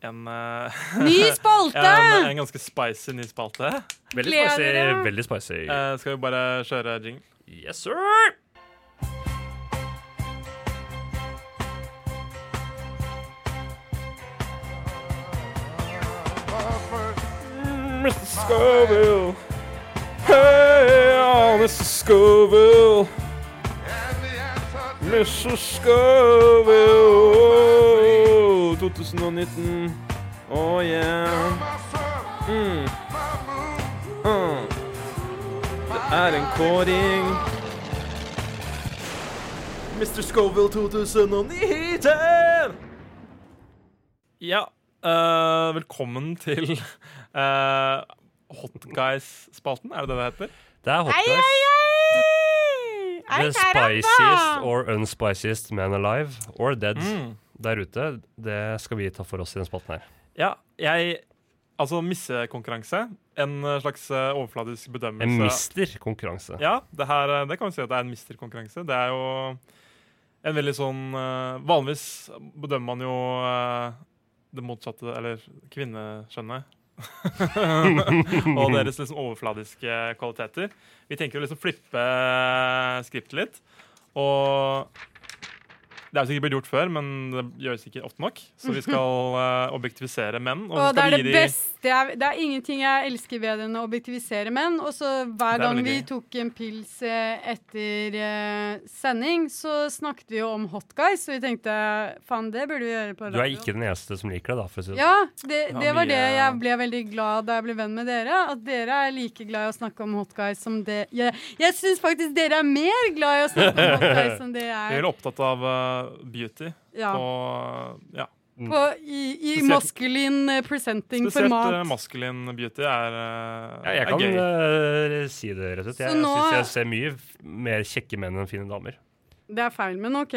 en, eh,
Ny spalte!
en, en ganske spicy ny spalte.
Veldig
Gleder
spicy.
dere?
Veldig spicy.
Eh, skal vi bare kjøre jingle?
Yes, sir!
Mr. Scoville. Hey, oh, Mr. Scoville. Mr. Scoville. 2019. Oh yeah. Mm. Mm. Det er en kåring. Mr. Scoville 2019.
Ja, eh, velkommen til eh, Hot Guys-spalten. Er det det det heter?
Det er hot guys. The spiciest or unspiciest man alive or dead
Mm.
der ute. Det skal vi ta for oss i den spotten her.
Ja, jeg Altså missekonkurranse. En eh, slags eh, overfladisk bedømmelse.
En mister konkurranse.
Ja, det, her, eh, det kan vi si at det er en misterkonkurranse. Det er jo en veldig sånn eh, Vanligvis bedømmer man jo eh, det motsatte, eller kvinneskjønnet. og deres liksom overfladiske kvaliteter. Vi tenker å liksom flippe eh, skriptet litt. Og det er jo sikkert blitt gjort før, men det gjøres ikke ofte nok. Så vi skal eh, objektivisere menn. Og, så
Og det
skal
er
vi
det
gi de-
beste jeg Det er ingenting jeg elsker bedre enn å objektivisere menn. Og så
Det er
hver gang
veldig
vi
gøy.
tok en pils eh, etter eh, sending, så snakket vi jo om hot guys, og vi tenkte faen, det burde vi gjøre på
Du
radio.
er ikke den eneste som liker det, da. For å si det.
Ja, det,
Ja,
det var
mye-
det jeg ble veldig glad da jeg ble venn med dere. At dere er like glad i å snakke om hot guys som det Jeg, jeg syns faktisk dere er mer glad i å snakke om hot guys som det
Vi er
jeg er.
veldig opptatt av eh, beauty
Ja,
og ja.
på, i, i
Spesielt-
maskulin eh, presenting
Spesielt
format.
eh, maskulin beauty er, eh,
sånn. Ja, jeg
er
kan
gøy.
eh, si det rett ut. Jeg
Så nå-
syns jeg ser mye f- mer kjekke menn enn fine damer.
Det er feil, men OK.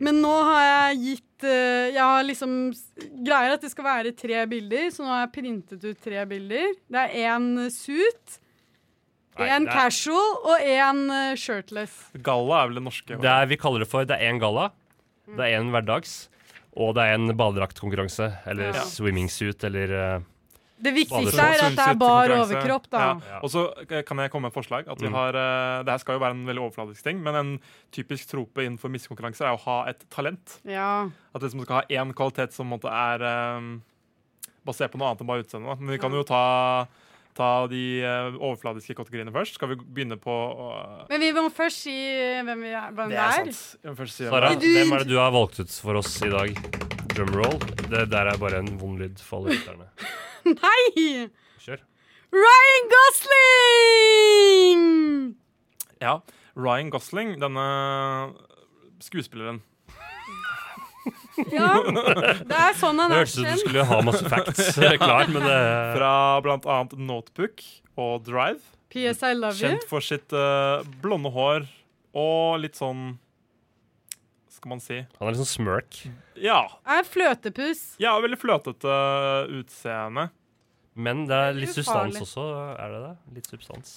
Men nå har jeg gitt eh, Jeg har liksom s- greier at det skal være tre bilder, så nå har jeg printet ut tre bilder. Det er én suit,
Nei,
én
det er-
casual og én shirtless.
Galla er vel det norske.
Det er, vi kaller det for det er én galla,
Mm.
det er én hverdags, og det er en badedraktkonkurranse. Eller
Ja.
swimmingsuit, eller eh,
Det viktigste
Vanlig
er at det er bar overkropp, da.
sånn Ja. Og så eh, kan jeg komme med et forslag. At vi
Mm.
har, eh, det her skal jo være en veldig overfladisk ting, men en typisk trope innenfor missekonkurranser er å ha et talent.
Ja.
At det liksom skal ha én kvalitet som på en måte er eh, basert på noe annet enn bare utseendet. da. Men vi kan jo ta, ta de eh, overfladiske kategoriene først. Skal vi begynne på eh,
Men vi må først si eh, hvem, vi er, hvem det er.
sant. Jeg må først si hvem
Sara,
det er.
du-
hvem er det du har valgt ut for oss i dag? Drumroll. Det der er bare en vond lyd for alle lytterne.
Nei!
Kjør.
Ryan Gosling!
Ja, Ryan Gosling, denne eh, skuespilleren.
Ja, det er sånn han
Det
er
hørtes ut som du
kjent.
skulle ha masse facts eh, klar, men det
Fra blant annet Notebook og Drive.
PS I love you.
Kjent for sitt eh, blonde hår og litt sånn Skal man si
Han er litt sånn smirk.
Ja.
Er fløtepus.
ja veldig fløtete eh, utseende.
Men det er litt
Ufarlig.
substans også, er det det? Litt substans.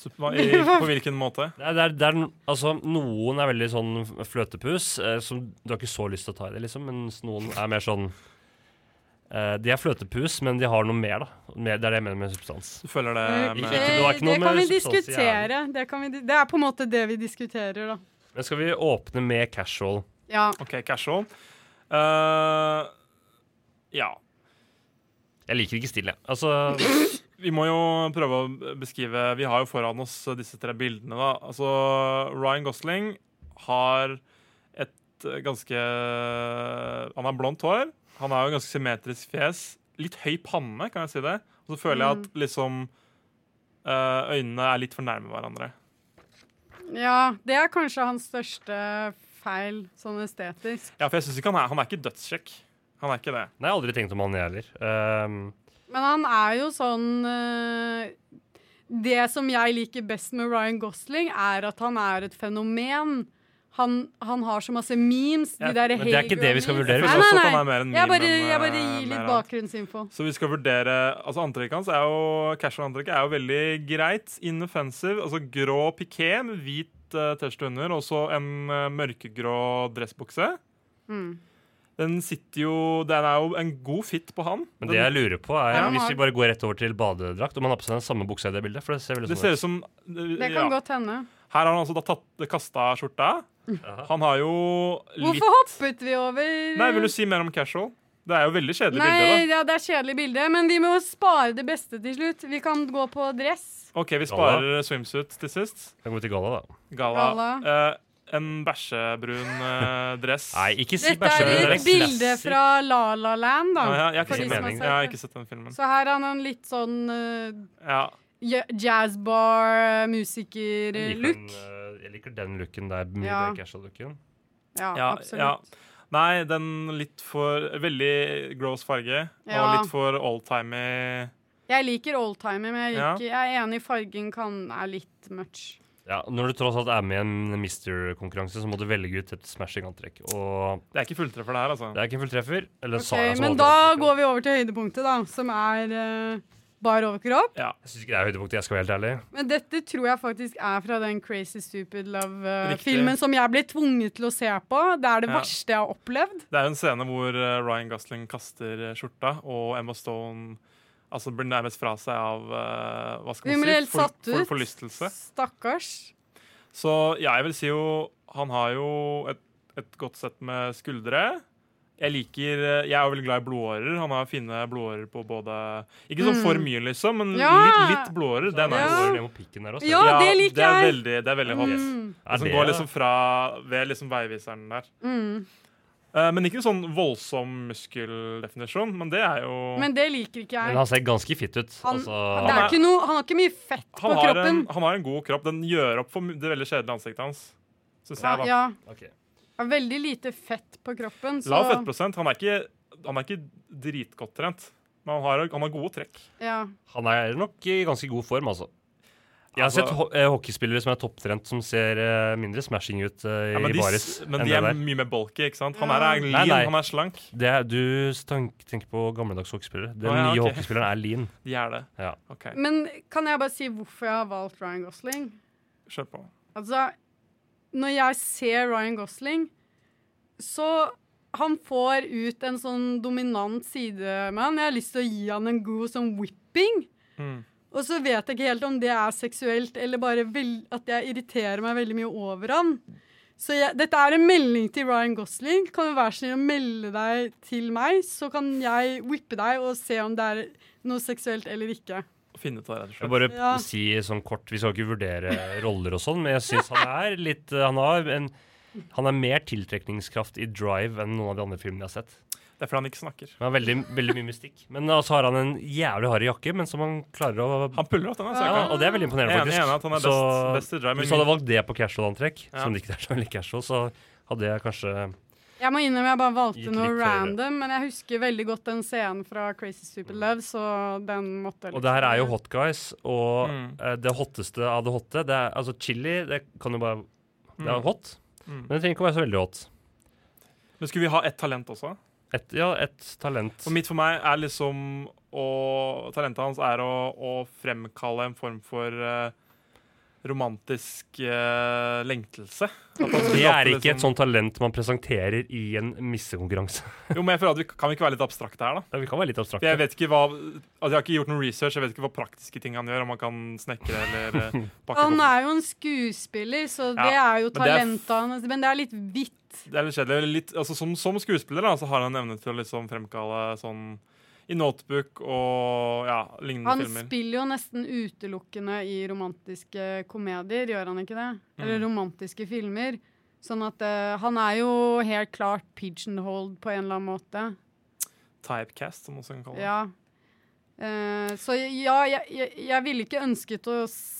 Så på- I, på hvilken måte?
Det er, det er, det er, no- altså, noen er veldig sånn fløtepus, eh, som du har ikke så lyst til å ta i det, liksom, mens noen er mer sånn eh, De er fløtepus, men de har noe mer, da. Mer, det er det jeg mener med substans.
Eh, Du føler det
Ikke-
med
det var ikke noe
det kan vi
med substans i
diskutere. Det, kan vi, di- det er på en måte det vi diskuterer, da.
Men skal vi åpne med casual?
Ja.
OK, casual. Eh, ja.
Jeg liker ikke stille. Altså,
Vi må jo prøve å beskrive Vi har jo foran oss disse tre bildene. da Altså, Ryan Gosling har et ganske Han har blondt hår. Han har jo ganske symmetrisk fjes. Litt høy panne, kan jeg si det. Og så føler jeg at liksom eh, øynene er litt for nærme hverandre.
ja. Det er kanskje hans største feil, sånn estetisk.
Ja, for jeg synes ikke Han er Han er ikke dødskjekk. Han er ikke det.
nei, jeg har aldri tenkt om han, jeg heller. Ehm,
Men han er jo sånn eh, Det som jeg liker best med Ryan Gosling, er at han er et fenomen. Han, han har så masse memes. De
Ja,
der
men det er ikke det vi skal
Jeg
vurdere.
Hager-memes.
Nei,
føler også
Nei,
at
nei,
han er mer en
Jeg
meme
bare,
enn,
jeg bare
eh, mer
gir litt
annet.
bakgrunnsinfo.
Så vi skal vurdere Altså Antrekket hans er jo casual-antrekket er jo veldig greit. Inoffensive. Altså grå piké med hvit eh, T-skjorte under, og så en eh, mørkegrå dressbukse.
Mm.
Den sitter jo Den er jo en god fit på han.
men
Den,
det jeg lurer på, er
Ja, han
hvis
har-
vi bare går rett over til badedrakt, om han har på seg den samme buksa i det bildet. For det ser veldig
det
sånn
ser
ut.
ut som eh,
Det
ja.
kan godt hende.
Her har han altså da tatt, kasta skjorta. Han har jo litt
Hvorfor hoppet vi over
Nei, vil du si mer om casual? Det er jo veldig kjedelig
Nei,
bilde,
ja, det er kjedelig bilde, men vi må spare det beste til slutt. Vi kan gå på dress.
da. OK, vi sparer eh, swimsuit til sist.
Kan gå til galla, da.
Gala.
Gala.
Eh, en bæsjebrun eh, dress.
Nei, ikke si
Dette er et
bæsjedress.
bilde fra La La Land, da.
Å, ja, jeg, har
For
ikke
de
sett
som har
den.
sett
jeg har
det.
ikke sett den filmen.
Så her har han litt sånn eh,
Ja.
ja- eh, jazzbar-musiker-look.
eh, Jeg liker den looken der. Mye
Ja.
mer casual-looken.
Ja,
Ja,
absolutt.
Nei, den litt for Veldig gross farge.
Ja.
Og litt for oldtimey.
Jeg liker oldtimer, men jeg,
Ja.
liker, jeg er enig i fargen kan er litt much.
Ja, når du tross alt er med i en Mister-konkurranse, så må du velge ut et smashing antrekk. Og
Det er ikke fulltreffer, det her, altså.
det er ikke en fulltreffer. Eller
Ok,
Sara som
men
valgte
da
antrekket.
går vi over til høydepunktet, da, som er eh, bar overkropp.
Jeg syns ikke det er høydepunktet, jeg skal være helt ærlig.
Men dette tror jeg faktisk er fra den Crazy Stupid
Riktig.
Love-filmen som jeg ble tvunget til å se på. Det er det
Ja.
verste jeg har opplevd.
Det er jo en scene hvor eh, Ryan Gosling kaster eh, skjorta, og Emma Stone altså, blir nærmest fra seg av eh, hva skal
Vi
man
ble
si,
helt satt
for,
ut.
forlystelse.
Stakkars.
Så ja, jeg vil si jo Han har jo et, et godt sett med skuldre. Jeg liker, eh, jeg er jo veldig glad i blodårer. Han har fine blodårer på både Ikke sånn for mye, liksom, men
Mm. Ja.
litt, litt blodårer. Det er
Ja.
nice.
Går ned mot pikken der også.
Ja, det liker
Altså, det er
jeg. Mm.
veldig, det er veldig hot.
Er
Som
det-
går liksom fra ved liksom veiviseren der.
mm.
Eh, men ikke sånn voldsom muskeldefinisjon, men det er jo
Men det liker ikke
Men
jeg.
han ser ganske fit ut.
Han,
altså,
det er
er-
ikke noe, han har ikke mye fett på
han, har en,
kroppen.
han har en god kropp. Den gjør opp for mu- det veldig kjedelige ansiktet hans. Synes jeg, da.
Ja,
Ok.
har veldig lite fett på kroppen. Så,
Lav fettprosent. Han er ikke, han er ikke dritgodt trent, men han har, han har gode trekk.
ja.
Han er nok i ganske god form, altså. Jeg har
Altså-
sett ho eh, hockeyspillere som er topptrent, som ser eh, mindre smashing ut eh,
Ja, men
i
de,
baris.
s- men
enn
de
det
er
der.
mye mer bulky, ikke sant? Han er, er lean,
Nei, nei.
han er slank.
Det er, du stank, tenker på gammeldags hockeyspillere. Den
Å, ja,
nye
ok.
hockeyspilleren er lean.
De er det.
Ja.
OK,
Men kan jeg bare si hvorfor jeg har valgt Ryan Gosling?
kjør på.
Altså, når jeg ser Ryan Gosling, så han får ut en sånn dominant side med han. Jeg har lyst til å gi han en god sånn whipping.
Mm.
Og så vet jeg ikke helt om det er seksuelt, eller bare vel- at jeg irriterer meg veldig mye over han. Så jeg, dette er en melding til Ryan Gosling. Kan du være snill å melde deg til meg, så kan jeg whippe deg og se om det er noe seksuelt eller ikke.
Finne ut av det, rett og
Jeg
slett.
vil bare
Ja.
si sånn kort, Vi skal ikke vurdere roller og sånn, men jeg syns han er litt eh, Han har en han har mer tiltrekningskraft i Drive enn noen av de andre filmene jeg har sett.
Det er fordi han ikke snakker.
Han har veldig, veldig mye mystikk. Men så altså, har han en jævlig hard jakke, men som han klarer å
Han puller opp den. Altså,
ja,
jeg kan-
Og det er veldig imponerende,
Jeg er enig,
faktisk.
jeg er enig at han er
Så-
best- best i drive, men
Hvis du hadde valgt det på casual-antrekk,
Ja.
som det ikke er så veldig casual, så hadde jeg kanskje
Jeg må innrømme jeg bare valgte
Gikk
noe
litt høyere.
random, men jeg husker veldig godt den scenen fra Crazy Stupid Love, så den måtte jeg
Og det her er jo
liksom-
hot guys, og
Mm.
eh, det hotteste av det hotte det er, Altså chili, det kan jo bare Det
Mm.
er hot,
Mm.
men det trenger ikke å være så veldig hot.
Men skulle vi ha ett talent også?
Et, ja, et talent.
Og mitt for meg er liksom å, Talentet hans er å, å fremkalle en form for eh, romantisk eh, lengtelse. At han skulle
Det
opp
er
til
ikke et
liksom-
sånt talent man presenterer i en missekonkurranse.
Jo, men jeg føler at vi Kan vi ikke være litt abstrakte her, da?
Ja, Vi kan være litt
For jeg
abstrakte.
vet ikke hva altså Jeg har ikke gjort noen research, jeg vet ikke hva praktiske ting han gjør. Om han kan snekre eller eh, pakke
Han
koffer.
er jo en skuespiller, så det
Ja,
er jo
men det er f-
talentet hans, men det er litt hvitt.
Det er litt kjedelig. eller Litt, altså, som, som skuespiller da, så har han en evne til å liksom fremkalle sånn i notebook og ja, lignende
Han
filmer.
spiller jo nesten utelukkende i romantiske komedier, gjør han ikke det?
Mm.
Eller romantiske filmer. Sånn at eh, han er jo helt klart pigeonholed på en eller annen måte.
Typecast, som man også kan kalle det.
Ja. Eh, så ja, jeg, jeg, jeg ville ikke ønsket å s-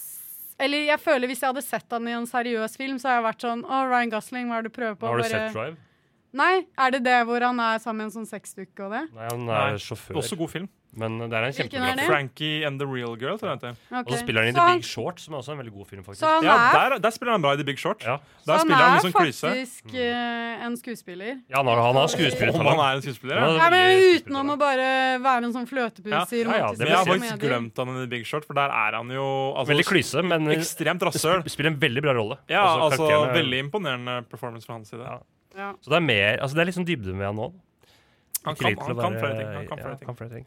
Eller jeg føler hvis jeg hadde sett han i en seriøs film, så hadde jeg vært sånn Å, Ryan Gosling, hva er det du prøver på?
Har du
Bare-
sett Drive?
Nei, er det det hvor han er sammen med en sånn sexdukke og det?
Nei, han
Nei.
er sjåfør.
Også god film.
Men det er en
Hvilken
kjempebra
er det?
film.
Frankie and the Real Girl, tror jeg det heter.
Og så
Ok.
spiller han i
Så
The
han-
Big Short, som er også en veldig god film, faktisk.
Så han
Ja,
er,
der, der spiller han bra i The Big Short.
Ja.
Der
så han
spiller han
er
liksom
sånn
klyse.
Mm.
faktisk eh, en skuespiller.
Ja, han har, han har
Om han
skuespillertalent.
er en skuespiller,
Ja,
ja.
det er
Ja, men
veldig
Utenom å
skuespillertalent.
bare være en sånn fløtepus
Ja,
ja, ja,
i romantiske
det
Men jeg har
vil
faktisk
komedier.
glemt han i The Big Short, for der er han jo altså,
Veldig klyse, men eh,
Ekstremt
det
rasshøl.
sp- spiller en veldig bra rolle.
Ja, altså,
karakteren er-
veldig imponerende performance fra hans side.
Ja.
Ja.
sånn Så det er mer, altså det er liksom dybde med han nå.
Han
Ikke
kan,
lite til
han
å
kan
være-
flere ting. Han kan
ja,
flere ting.
kan flere ting.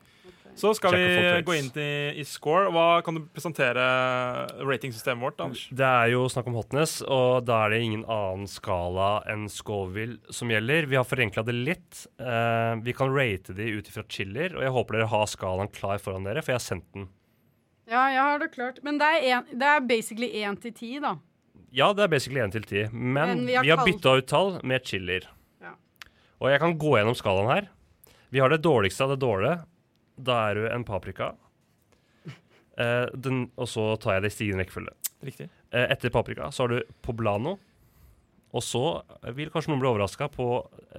Så skal
Jack of all
vi
trades.
gå inn til, i score. Hva kan du presentere ratingsystemet vårt, Anders?
Det er jo snakk om hotness, og da er det ingen annen skala enn Scoville som gjelder. Vi har forenkla det litt. Eh, vi kan rate de ut ifra chiller, og jeg håper dere har skalaen klar foran dere, for jeg har sendt den.
Ja, jeg har det klart. Men det er, en, det er basically én til ti, da.
Ja, det er basically 1 til 10, men
Men vi
vi
har
har,
kalt-
bytta ut tall med chiller.
Ja.
Og jeg kan gå gjennom skalaen her. Vi har det dårligste av det dårlige. Da er du en paprika. Eh, den, og så tar jeg det i stigende rekkefølge.
Riktig.
Eh, etter paprika så har du poblano. Og så vil kanskje noen bli overraska på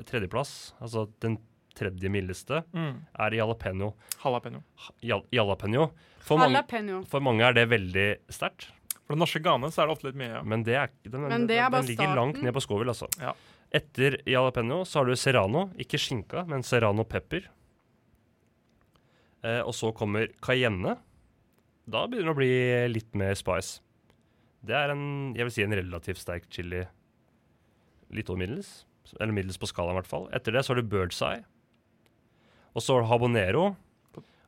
tredjeplass, altså den tredje mildeste,
Mm.
er jalapeño.
Jalapeño.
Jal jalapeño. For, mange,
Jalapeño.
for mange er det veldig sterkt.
For den norske gane så er det ofte litt mye. Ja.
Men det er, ikke- den,
Men
den,
det er bare
den ligger langt
starten.
ned på skovel, altså.
Ja.
Etter jalapeño så har du serrano. Ikke skinka, men serrano pepper. Eh, og så kommer cayenne. Da begynner det å bli litt mer spice. Det er en, jeg vil si, en relativt sterk chili. Litt over middels. Eller middels på skalaen, i hvert fall. Etter det så har du birdseye. Og så har du habanero.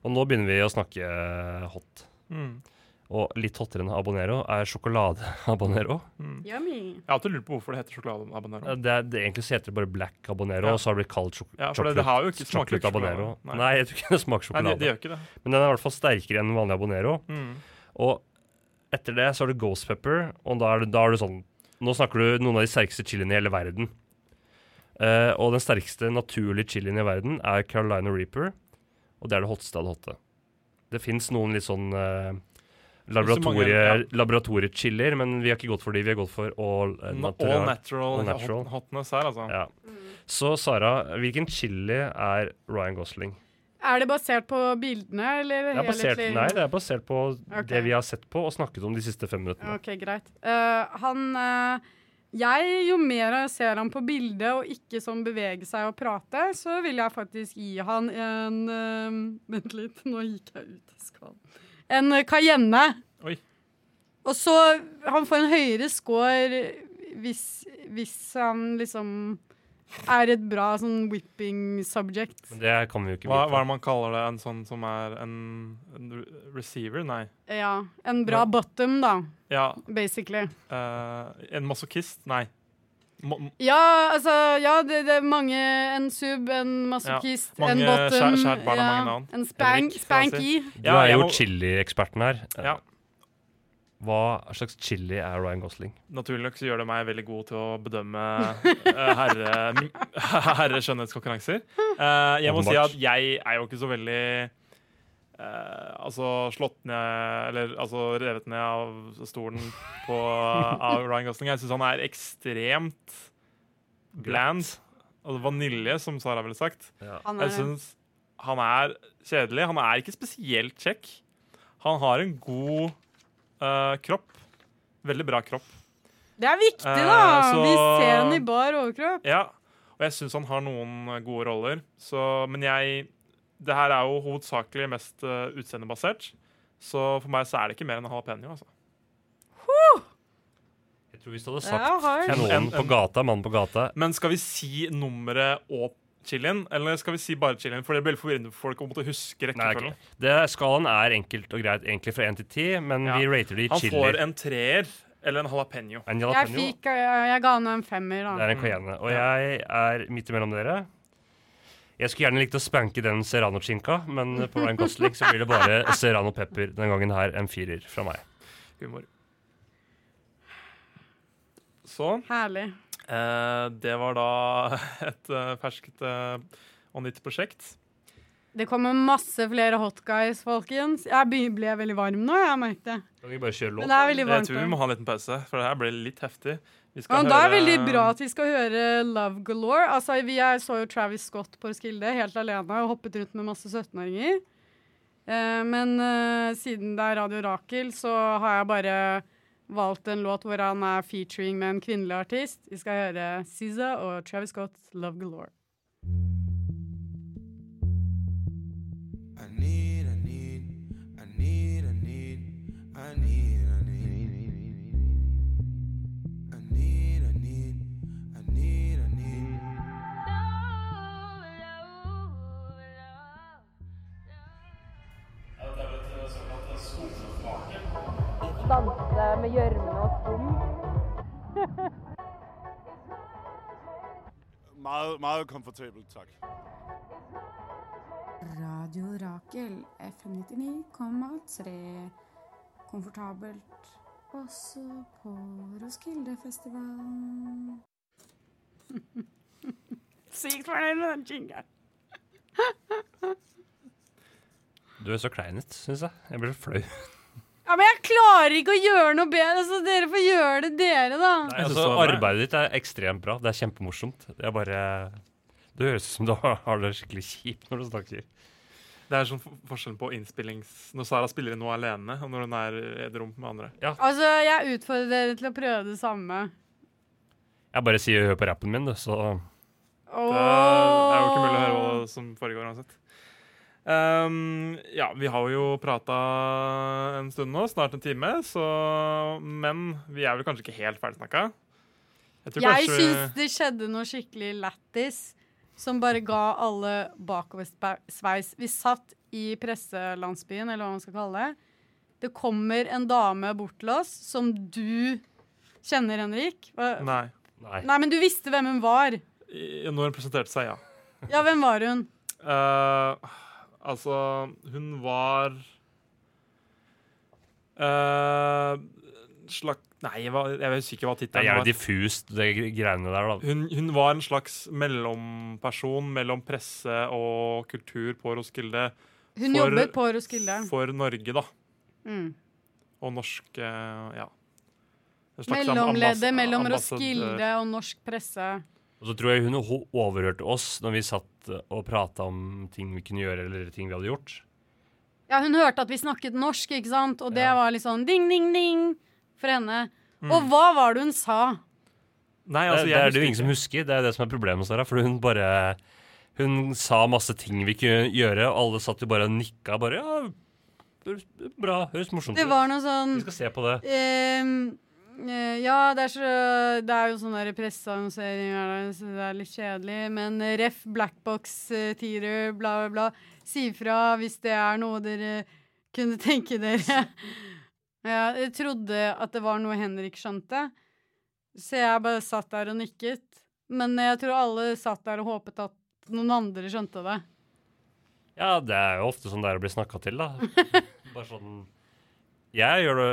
Og nå begynner vi å snakke hot.
Mm.
Og litt hottere enn habanero er sjokoladehabanero.
Yummy.
Jeg har alltid lurt på hvorfor det heter sjokoladeabonnero.
Ja, Det, er, det egentlig så heter det bare black habanero,
Ja.
og så har det blitt kalt sjok
Ja, for det, det har jo ikke smaker jo
sjokolade
ikke
habanero.
sjokolade.
Nei. jeg tror ikke det smaker
Nei, de,
sjokolade.
de gjør ikke det.
Men den er i hvert fall sterkere enn vanlig habanero.
Mm.
Og etter det så har du ghost pepper, og da er det, da er det sånn Nå snakker du noen av de sterkeste chiliene i hele verden. Eh, og den sterkeste naturlige chilien i verden er Carolina Reaper, og det er det hotteste av det hotte. Det fins noen litt sånn uh,
så mange- ja.
laboratoriechiller, men vi har ikke gått for de, vi har gått for all eh,
All
natural.
natural,
All natural.
Hot, hotness her, altså.
Ja. Så Sara, hvilken chili er Ryan Gosling?
Er det basert på bildene, eller
Det er basert,
helhetlig?
nei, det er basert på
Ok.
det vi har sett på og snakket om de siste fem minuttene.
OK, greit. Eh, han eh, Jeg, jo mer jeg ser han på bildet og ikke sånn bevege seg og prate, så vil jeg faktisk gi han en eh, Vent litt, nå gikk jeg ut av skalaen. En eh, cayenne.
Oi.
Og så Han får en høyere score hvis, hvis han liksom er et bra sånn whipping subject.
Men det kan vi jo ikke
Hva, hva er
vite.
det man kaller det? En sånn som er en, en re- receiver? Nei.
Ja. En bra
Ja.
bottom, da,
Ja,
basically.
eh, en masochist? Nei. Mo
Ja, altså, ja, det, det er mange En sub, en masochist,
Ja, mange
en bottom
skjær- skjært barn har mange navn.
En spank,
Henrik, skal jeg
spanky.
Du
Ja,
er
jeg
jo
må-
chilieksperten her.
Ja.
Hva slags chili er Ryan Gosling?
Naturlig nok så gjør det meg veldig god til å bedømme eh, herre, m- herre skjønnhetskonkurranser. Eh, jeg må si at
Åpenbart.
jeg er jo ikke så veldig eh, altså slått ned Eller altså revet ned av stolen på, av Ryan Gosling. Jeg syns han er ekstremt bland. Altså vanilje, som Sara ville sagt.
Han
Jeg
er,
syns han er kjedelig. Han er ikke spesielt kjekk. Han har en god eh, kropp. Veldig bra kropp.
det er viktig,
Eh,
da! Vi
så-
ser han i bar overkropp.
Ja, og jeg syns han har noen eh, gode roller. Så, men jeg Det her er jo hovedsakelig mest eh, utseendebasert. Så for meg så er det ikke mer enn jalapeño. Altså.
Jeg tror hvis du hadde
Ja,
sagt
har.
til
En-
noen på
en-
gata, mann på gata
Men skal vi si nummeret og chilien, eller skal vi si bare chilien? For det blir veldig forvirrende for folk å måtte huske
Nei,
rekkefølgen.
ok. det, skalaen er enkelt og greit egentlig fra 1 til 10, men
Ja.
vi rater det i
Han får
chili.
en treer eller en jalapeño.
En
Jeg,
jalapeño.
fikk, jeg, jeg ga han en femmer,
Det
da.
er en cayenne. Og jeg er midt imellom dere. Jeg skulle gjerne likt å spanke den serrano-skinka, men på Ryan Gosling så blir det bare serrano pepper den gangen her. En firer fra meg.
Humor. Så
Herlig.
eh, Det var da et eh, ferskt eh, og nytt prosjekt.
Det kommer masse flere hot guys, folkens. Jeg be- ble veldig varm nå, jeg merket det.
Kan vi bare kjøre
Men
låt?
det er veldig
Jeg
varmt.
tror vi
her.
må ha en liten pause, for det her blir litt heftig. Vi
Ja, men da er det veldig bra at vi skal høre Love Galore. Altså, vi er, så jo Travis Scott på Roskilde helt alene og hoppet rundt med masse 17-åringer. Eh, men eh, siden det er Radio Rakel, så har jeg bare valgt en låt hvor han er featuring med en kvinnelig artist. Vi skal høre SZA og Travis Scott, Love Galore.
I need, I need.
eh, med gjørme og skum.
Meget, meget komfortabelt, tak.
Radio Rakel, FM 99,3. Komfortabelt også på Roskildefestivalen.
Sykt fornøyd med den jingeren.
Du er så klein ut, syns jeg. Jeg blir så flau.
Ja, men jeg klarer ikke å gjøre noe bedre, så dere får gjøre det dere, da.
Nei, altså, arbeidet ditt er ekstremt bra. Det er kjempemorsomt. Det er bare Det høres ut som du har har det skikkelig kjipt når du snakker.
Det er sånn for- forskjell på innspillings... Når Sara spiller inn noe alene, og når hun er i et rom med andre.
Altså, jeg utfordrer dere til å prøve det samme.
Jeg bare sier hør på rappen min, du, så
Det er jo ikke mulig å høre hva som foregår uansett. Ehm, ja, vi har jo prata en stund nå, snart en time, så Men vi er vel kanskje ikke helt ferdigsnakka? Jeg tror
Jeg
kanskje
syns det skjedde noe skikkelig lættis som bare ga alle bakoversveis. Vi satt i presselandsbyen, eller hva man skal kalle det. Det kommer en dame bort til oss som du kjenner, Henrik. Hva-
Nei.
Nei, men du visste hvem hun var.
I- Når hun presenterte seg, ja.
Ja, hvem var hun?
Eh, altså, hun var uh, Slak... Nei, jeg, var, jeg husker ikke hva
Det er
tittelen var.
jævlig diffust, det greiene der, da.
Hun, hun var en slags mellomperson mellom presse og kultur på Roskilde.
Hun jobbet på Roskilde.
For Norge, da.
Mm.
Og norske Ja. En slags
Mellomleddet
ambas-
mellom
ambassadør.
Roskilde og norsk presse.
Og så tror jeg hun ho- overhørte oss når vi satt og prata om ting vi kunne gjøre, eller ting vi hadde gjort.
Ja, hun hørte at vi snakket norsk, ikke sant? Og det var litt sånn ding, ding, ding for henne.
Mm.
Og hva var det hun sa?
Nei,
det,
altså,
det
jeg
er det
husker
jo ingen som husker. Det er jo det som er problemet, Sara. For hun bare Hun sa masse ting vi kunne gjøre, og alle satt jo bare og nikka. Bare ja, bra. Høres morsomt
Det var noe sånn
Vi skal se på det.
ehm, eh, ja, det er, så, det er jo sånn der presseannonsering, er det, så det er litt kjedelig. Men eh, ref blackbox-tirer, bla, bla, bla. Si fra hvis det er noe dere kunne tenke dere. ja, jeg trodde at det var noe Henrik skjønte, så jeg bare satt der og nikket. Men jeg tror alle satt der og håpet at noen andre skjønte det.
Ja, det er jo ofte sånn det er å bli snakka til, da. Bare sånn Jeg gjør det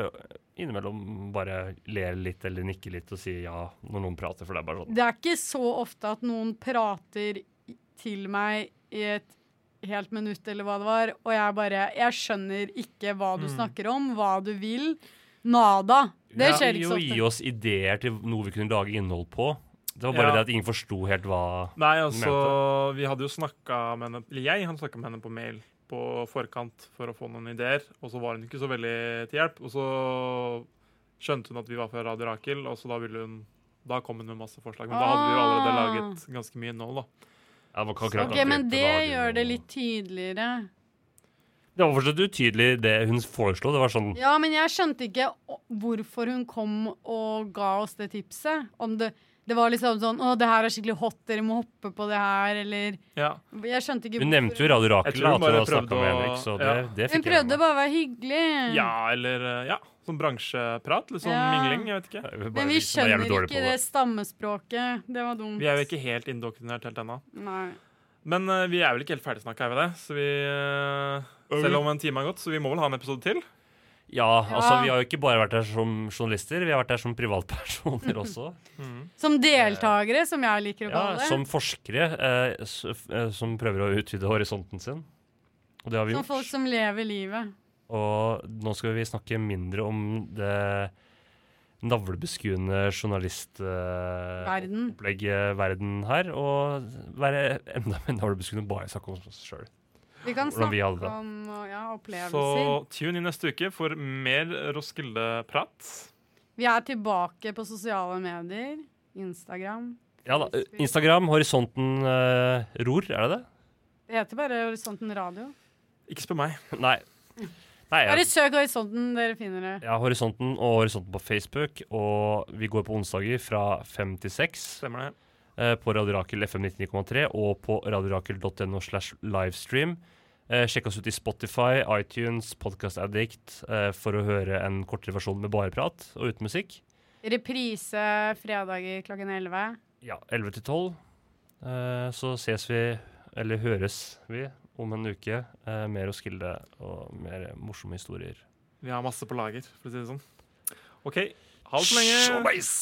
innimellom bare ler litt eller nikker litt og sier ja når noen prater, for det er bare sånn.
Det er ikke så ofte at noen prater i- til meg i et helt minutt eller hva det var, og jeg bare Jeg skjønner ikke hva du
Mm.
snakker om, hva du vil. Nada. Det
Ja,
skjer ikke
jo
så
gi
ofte.
oss ideer til noe vi kunne lage innhold på. Det var bare
Ja.
det at ingen forsto helt hva
Nei,
hun
altså, vi hadde jo snakka med henne Eller jeg hadde snakka med henne på mail på forkant for å få noen ideer, og så var hun ikke så veldig til hjelp. Og så skjønte hun at vi var fra Radio Rakel, og så da ville hun Da kom hun med masse forslag. Men da hadde vi jo allerede
Ah.
laget ganske mye innhold, da.
Ja, det var akkurat
OK, men det gjør det litt tydeligere.
Det var fortsatt utydelig det hun foreslo. Det var sånn
Ja, men jeg skjønte ikke å- hvorfor hun kom og ga oss det tipset. Om det, det var liksom sånn Å, det her er skikkelig hot, dere må hoppe på det her, eller
Ja.
Jeg skjønte ikke
Hun nevnte jo Radio Rakel,
Jeg tror hun
at hun
bare
hadde
prøvde
snakket med
å-
Henrik, så det,
ja.
det
Hun
fikk jeg med
prøvde bare å være hyggelig.
Ja, eller eh, Ja, sånn bransjeprat. Litt sånn
Mm. Ja.
mingling, jeg vet ikke.
Men vi skjønner ikke det stammespråket. Det var dumt.
Vi er jo ikke helt indoktrinert helt ennå.
Nei.
Men eh, vi er vel ikke helt ferdigsnakka, er vi det? Så vi eh, Selv om en time har gått, så vi må vel ha en episode til?
Ja, altså
Ja.
vi har jo ikke bare vært der som journalister, vi har vært der som privatpersoner også.
Som deltakere, som jeg liker
Eh,
å
Ja,
kalle det.
som forskere eh, s- f- eh, som prøver å utvide horisonten sin. Og det har vi
Som
gjort.
folk som lever livet.
Og nå skal vi snakke mindre om det navlebeskuende eh,
Verden.
journalistopplegget eh, verden her, og være enda mer navlebeskuende bare snakke om oss sjøl.
Vi kan
Hvordan vi
snakke
hadde det.
om ja, opplevelser.
Så tune inn neste uke for mer Roskilde-prat.
Vi er tilbake på sosiale medier. Instagram.
Ja da. eh, Instagram, Horisonten eh, ror, er det det?
Det heter bare Horisonten radio.
Ikke spør meg.
Nei. Nei
Bare
jeg,
søk Horisonten, dere finner det.
ja, Horisonten og Horisonten på Facebook, og vi går på onsdager fra fem til seks.
Stemmer det.
eh, på Radio Rakel FM 99,3 og på radiorakel.no slash livestream. Eh, sjekk oss ut i Spotify, iTunes, Podcast Addict eh, for å høre en kortere versjon med bare prat og uten musikk.
Reprise fredager klokken 11.
Ja, 11 til 12. Eh, så ses vi, eller høres vi, om en uke. Eh, mer hos Gilde og mer morsomme historier.
Vi har masse på lager, for å si det sånn. OK, ha det så lenge.
Showbiz!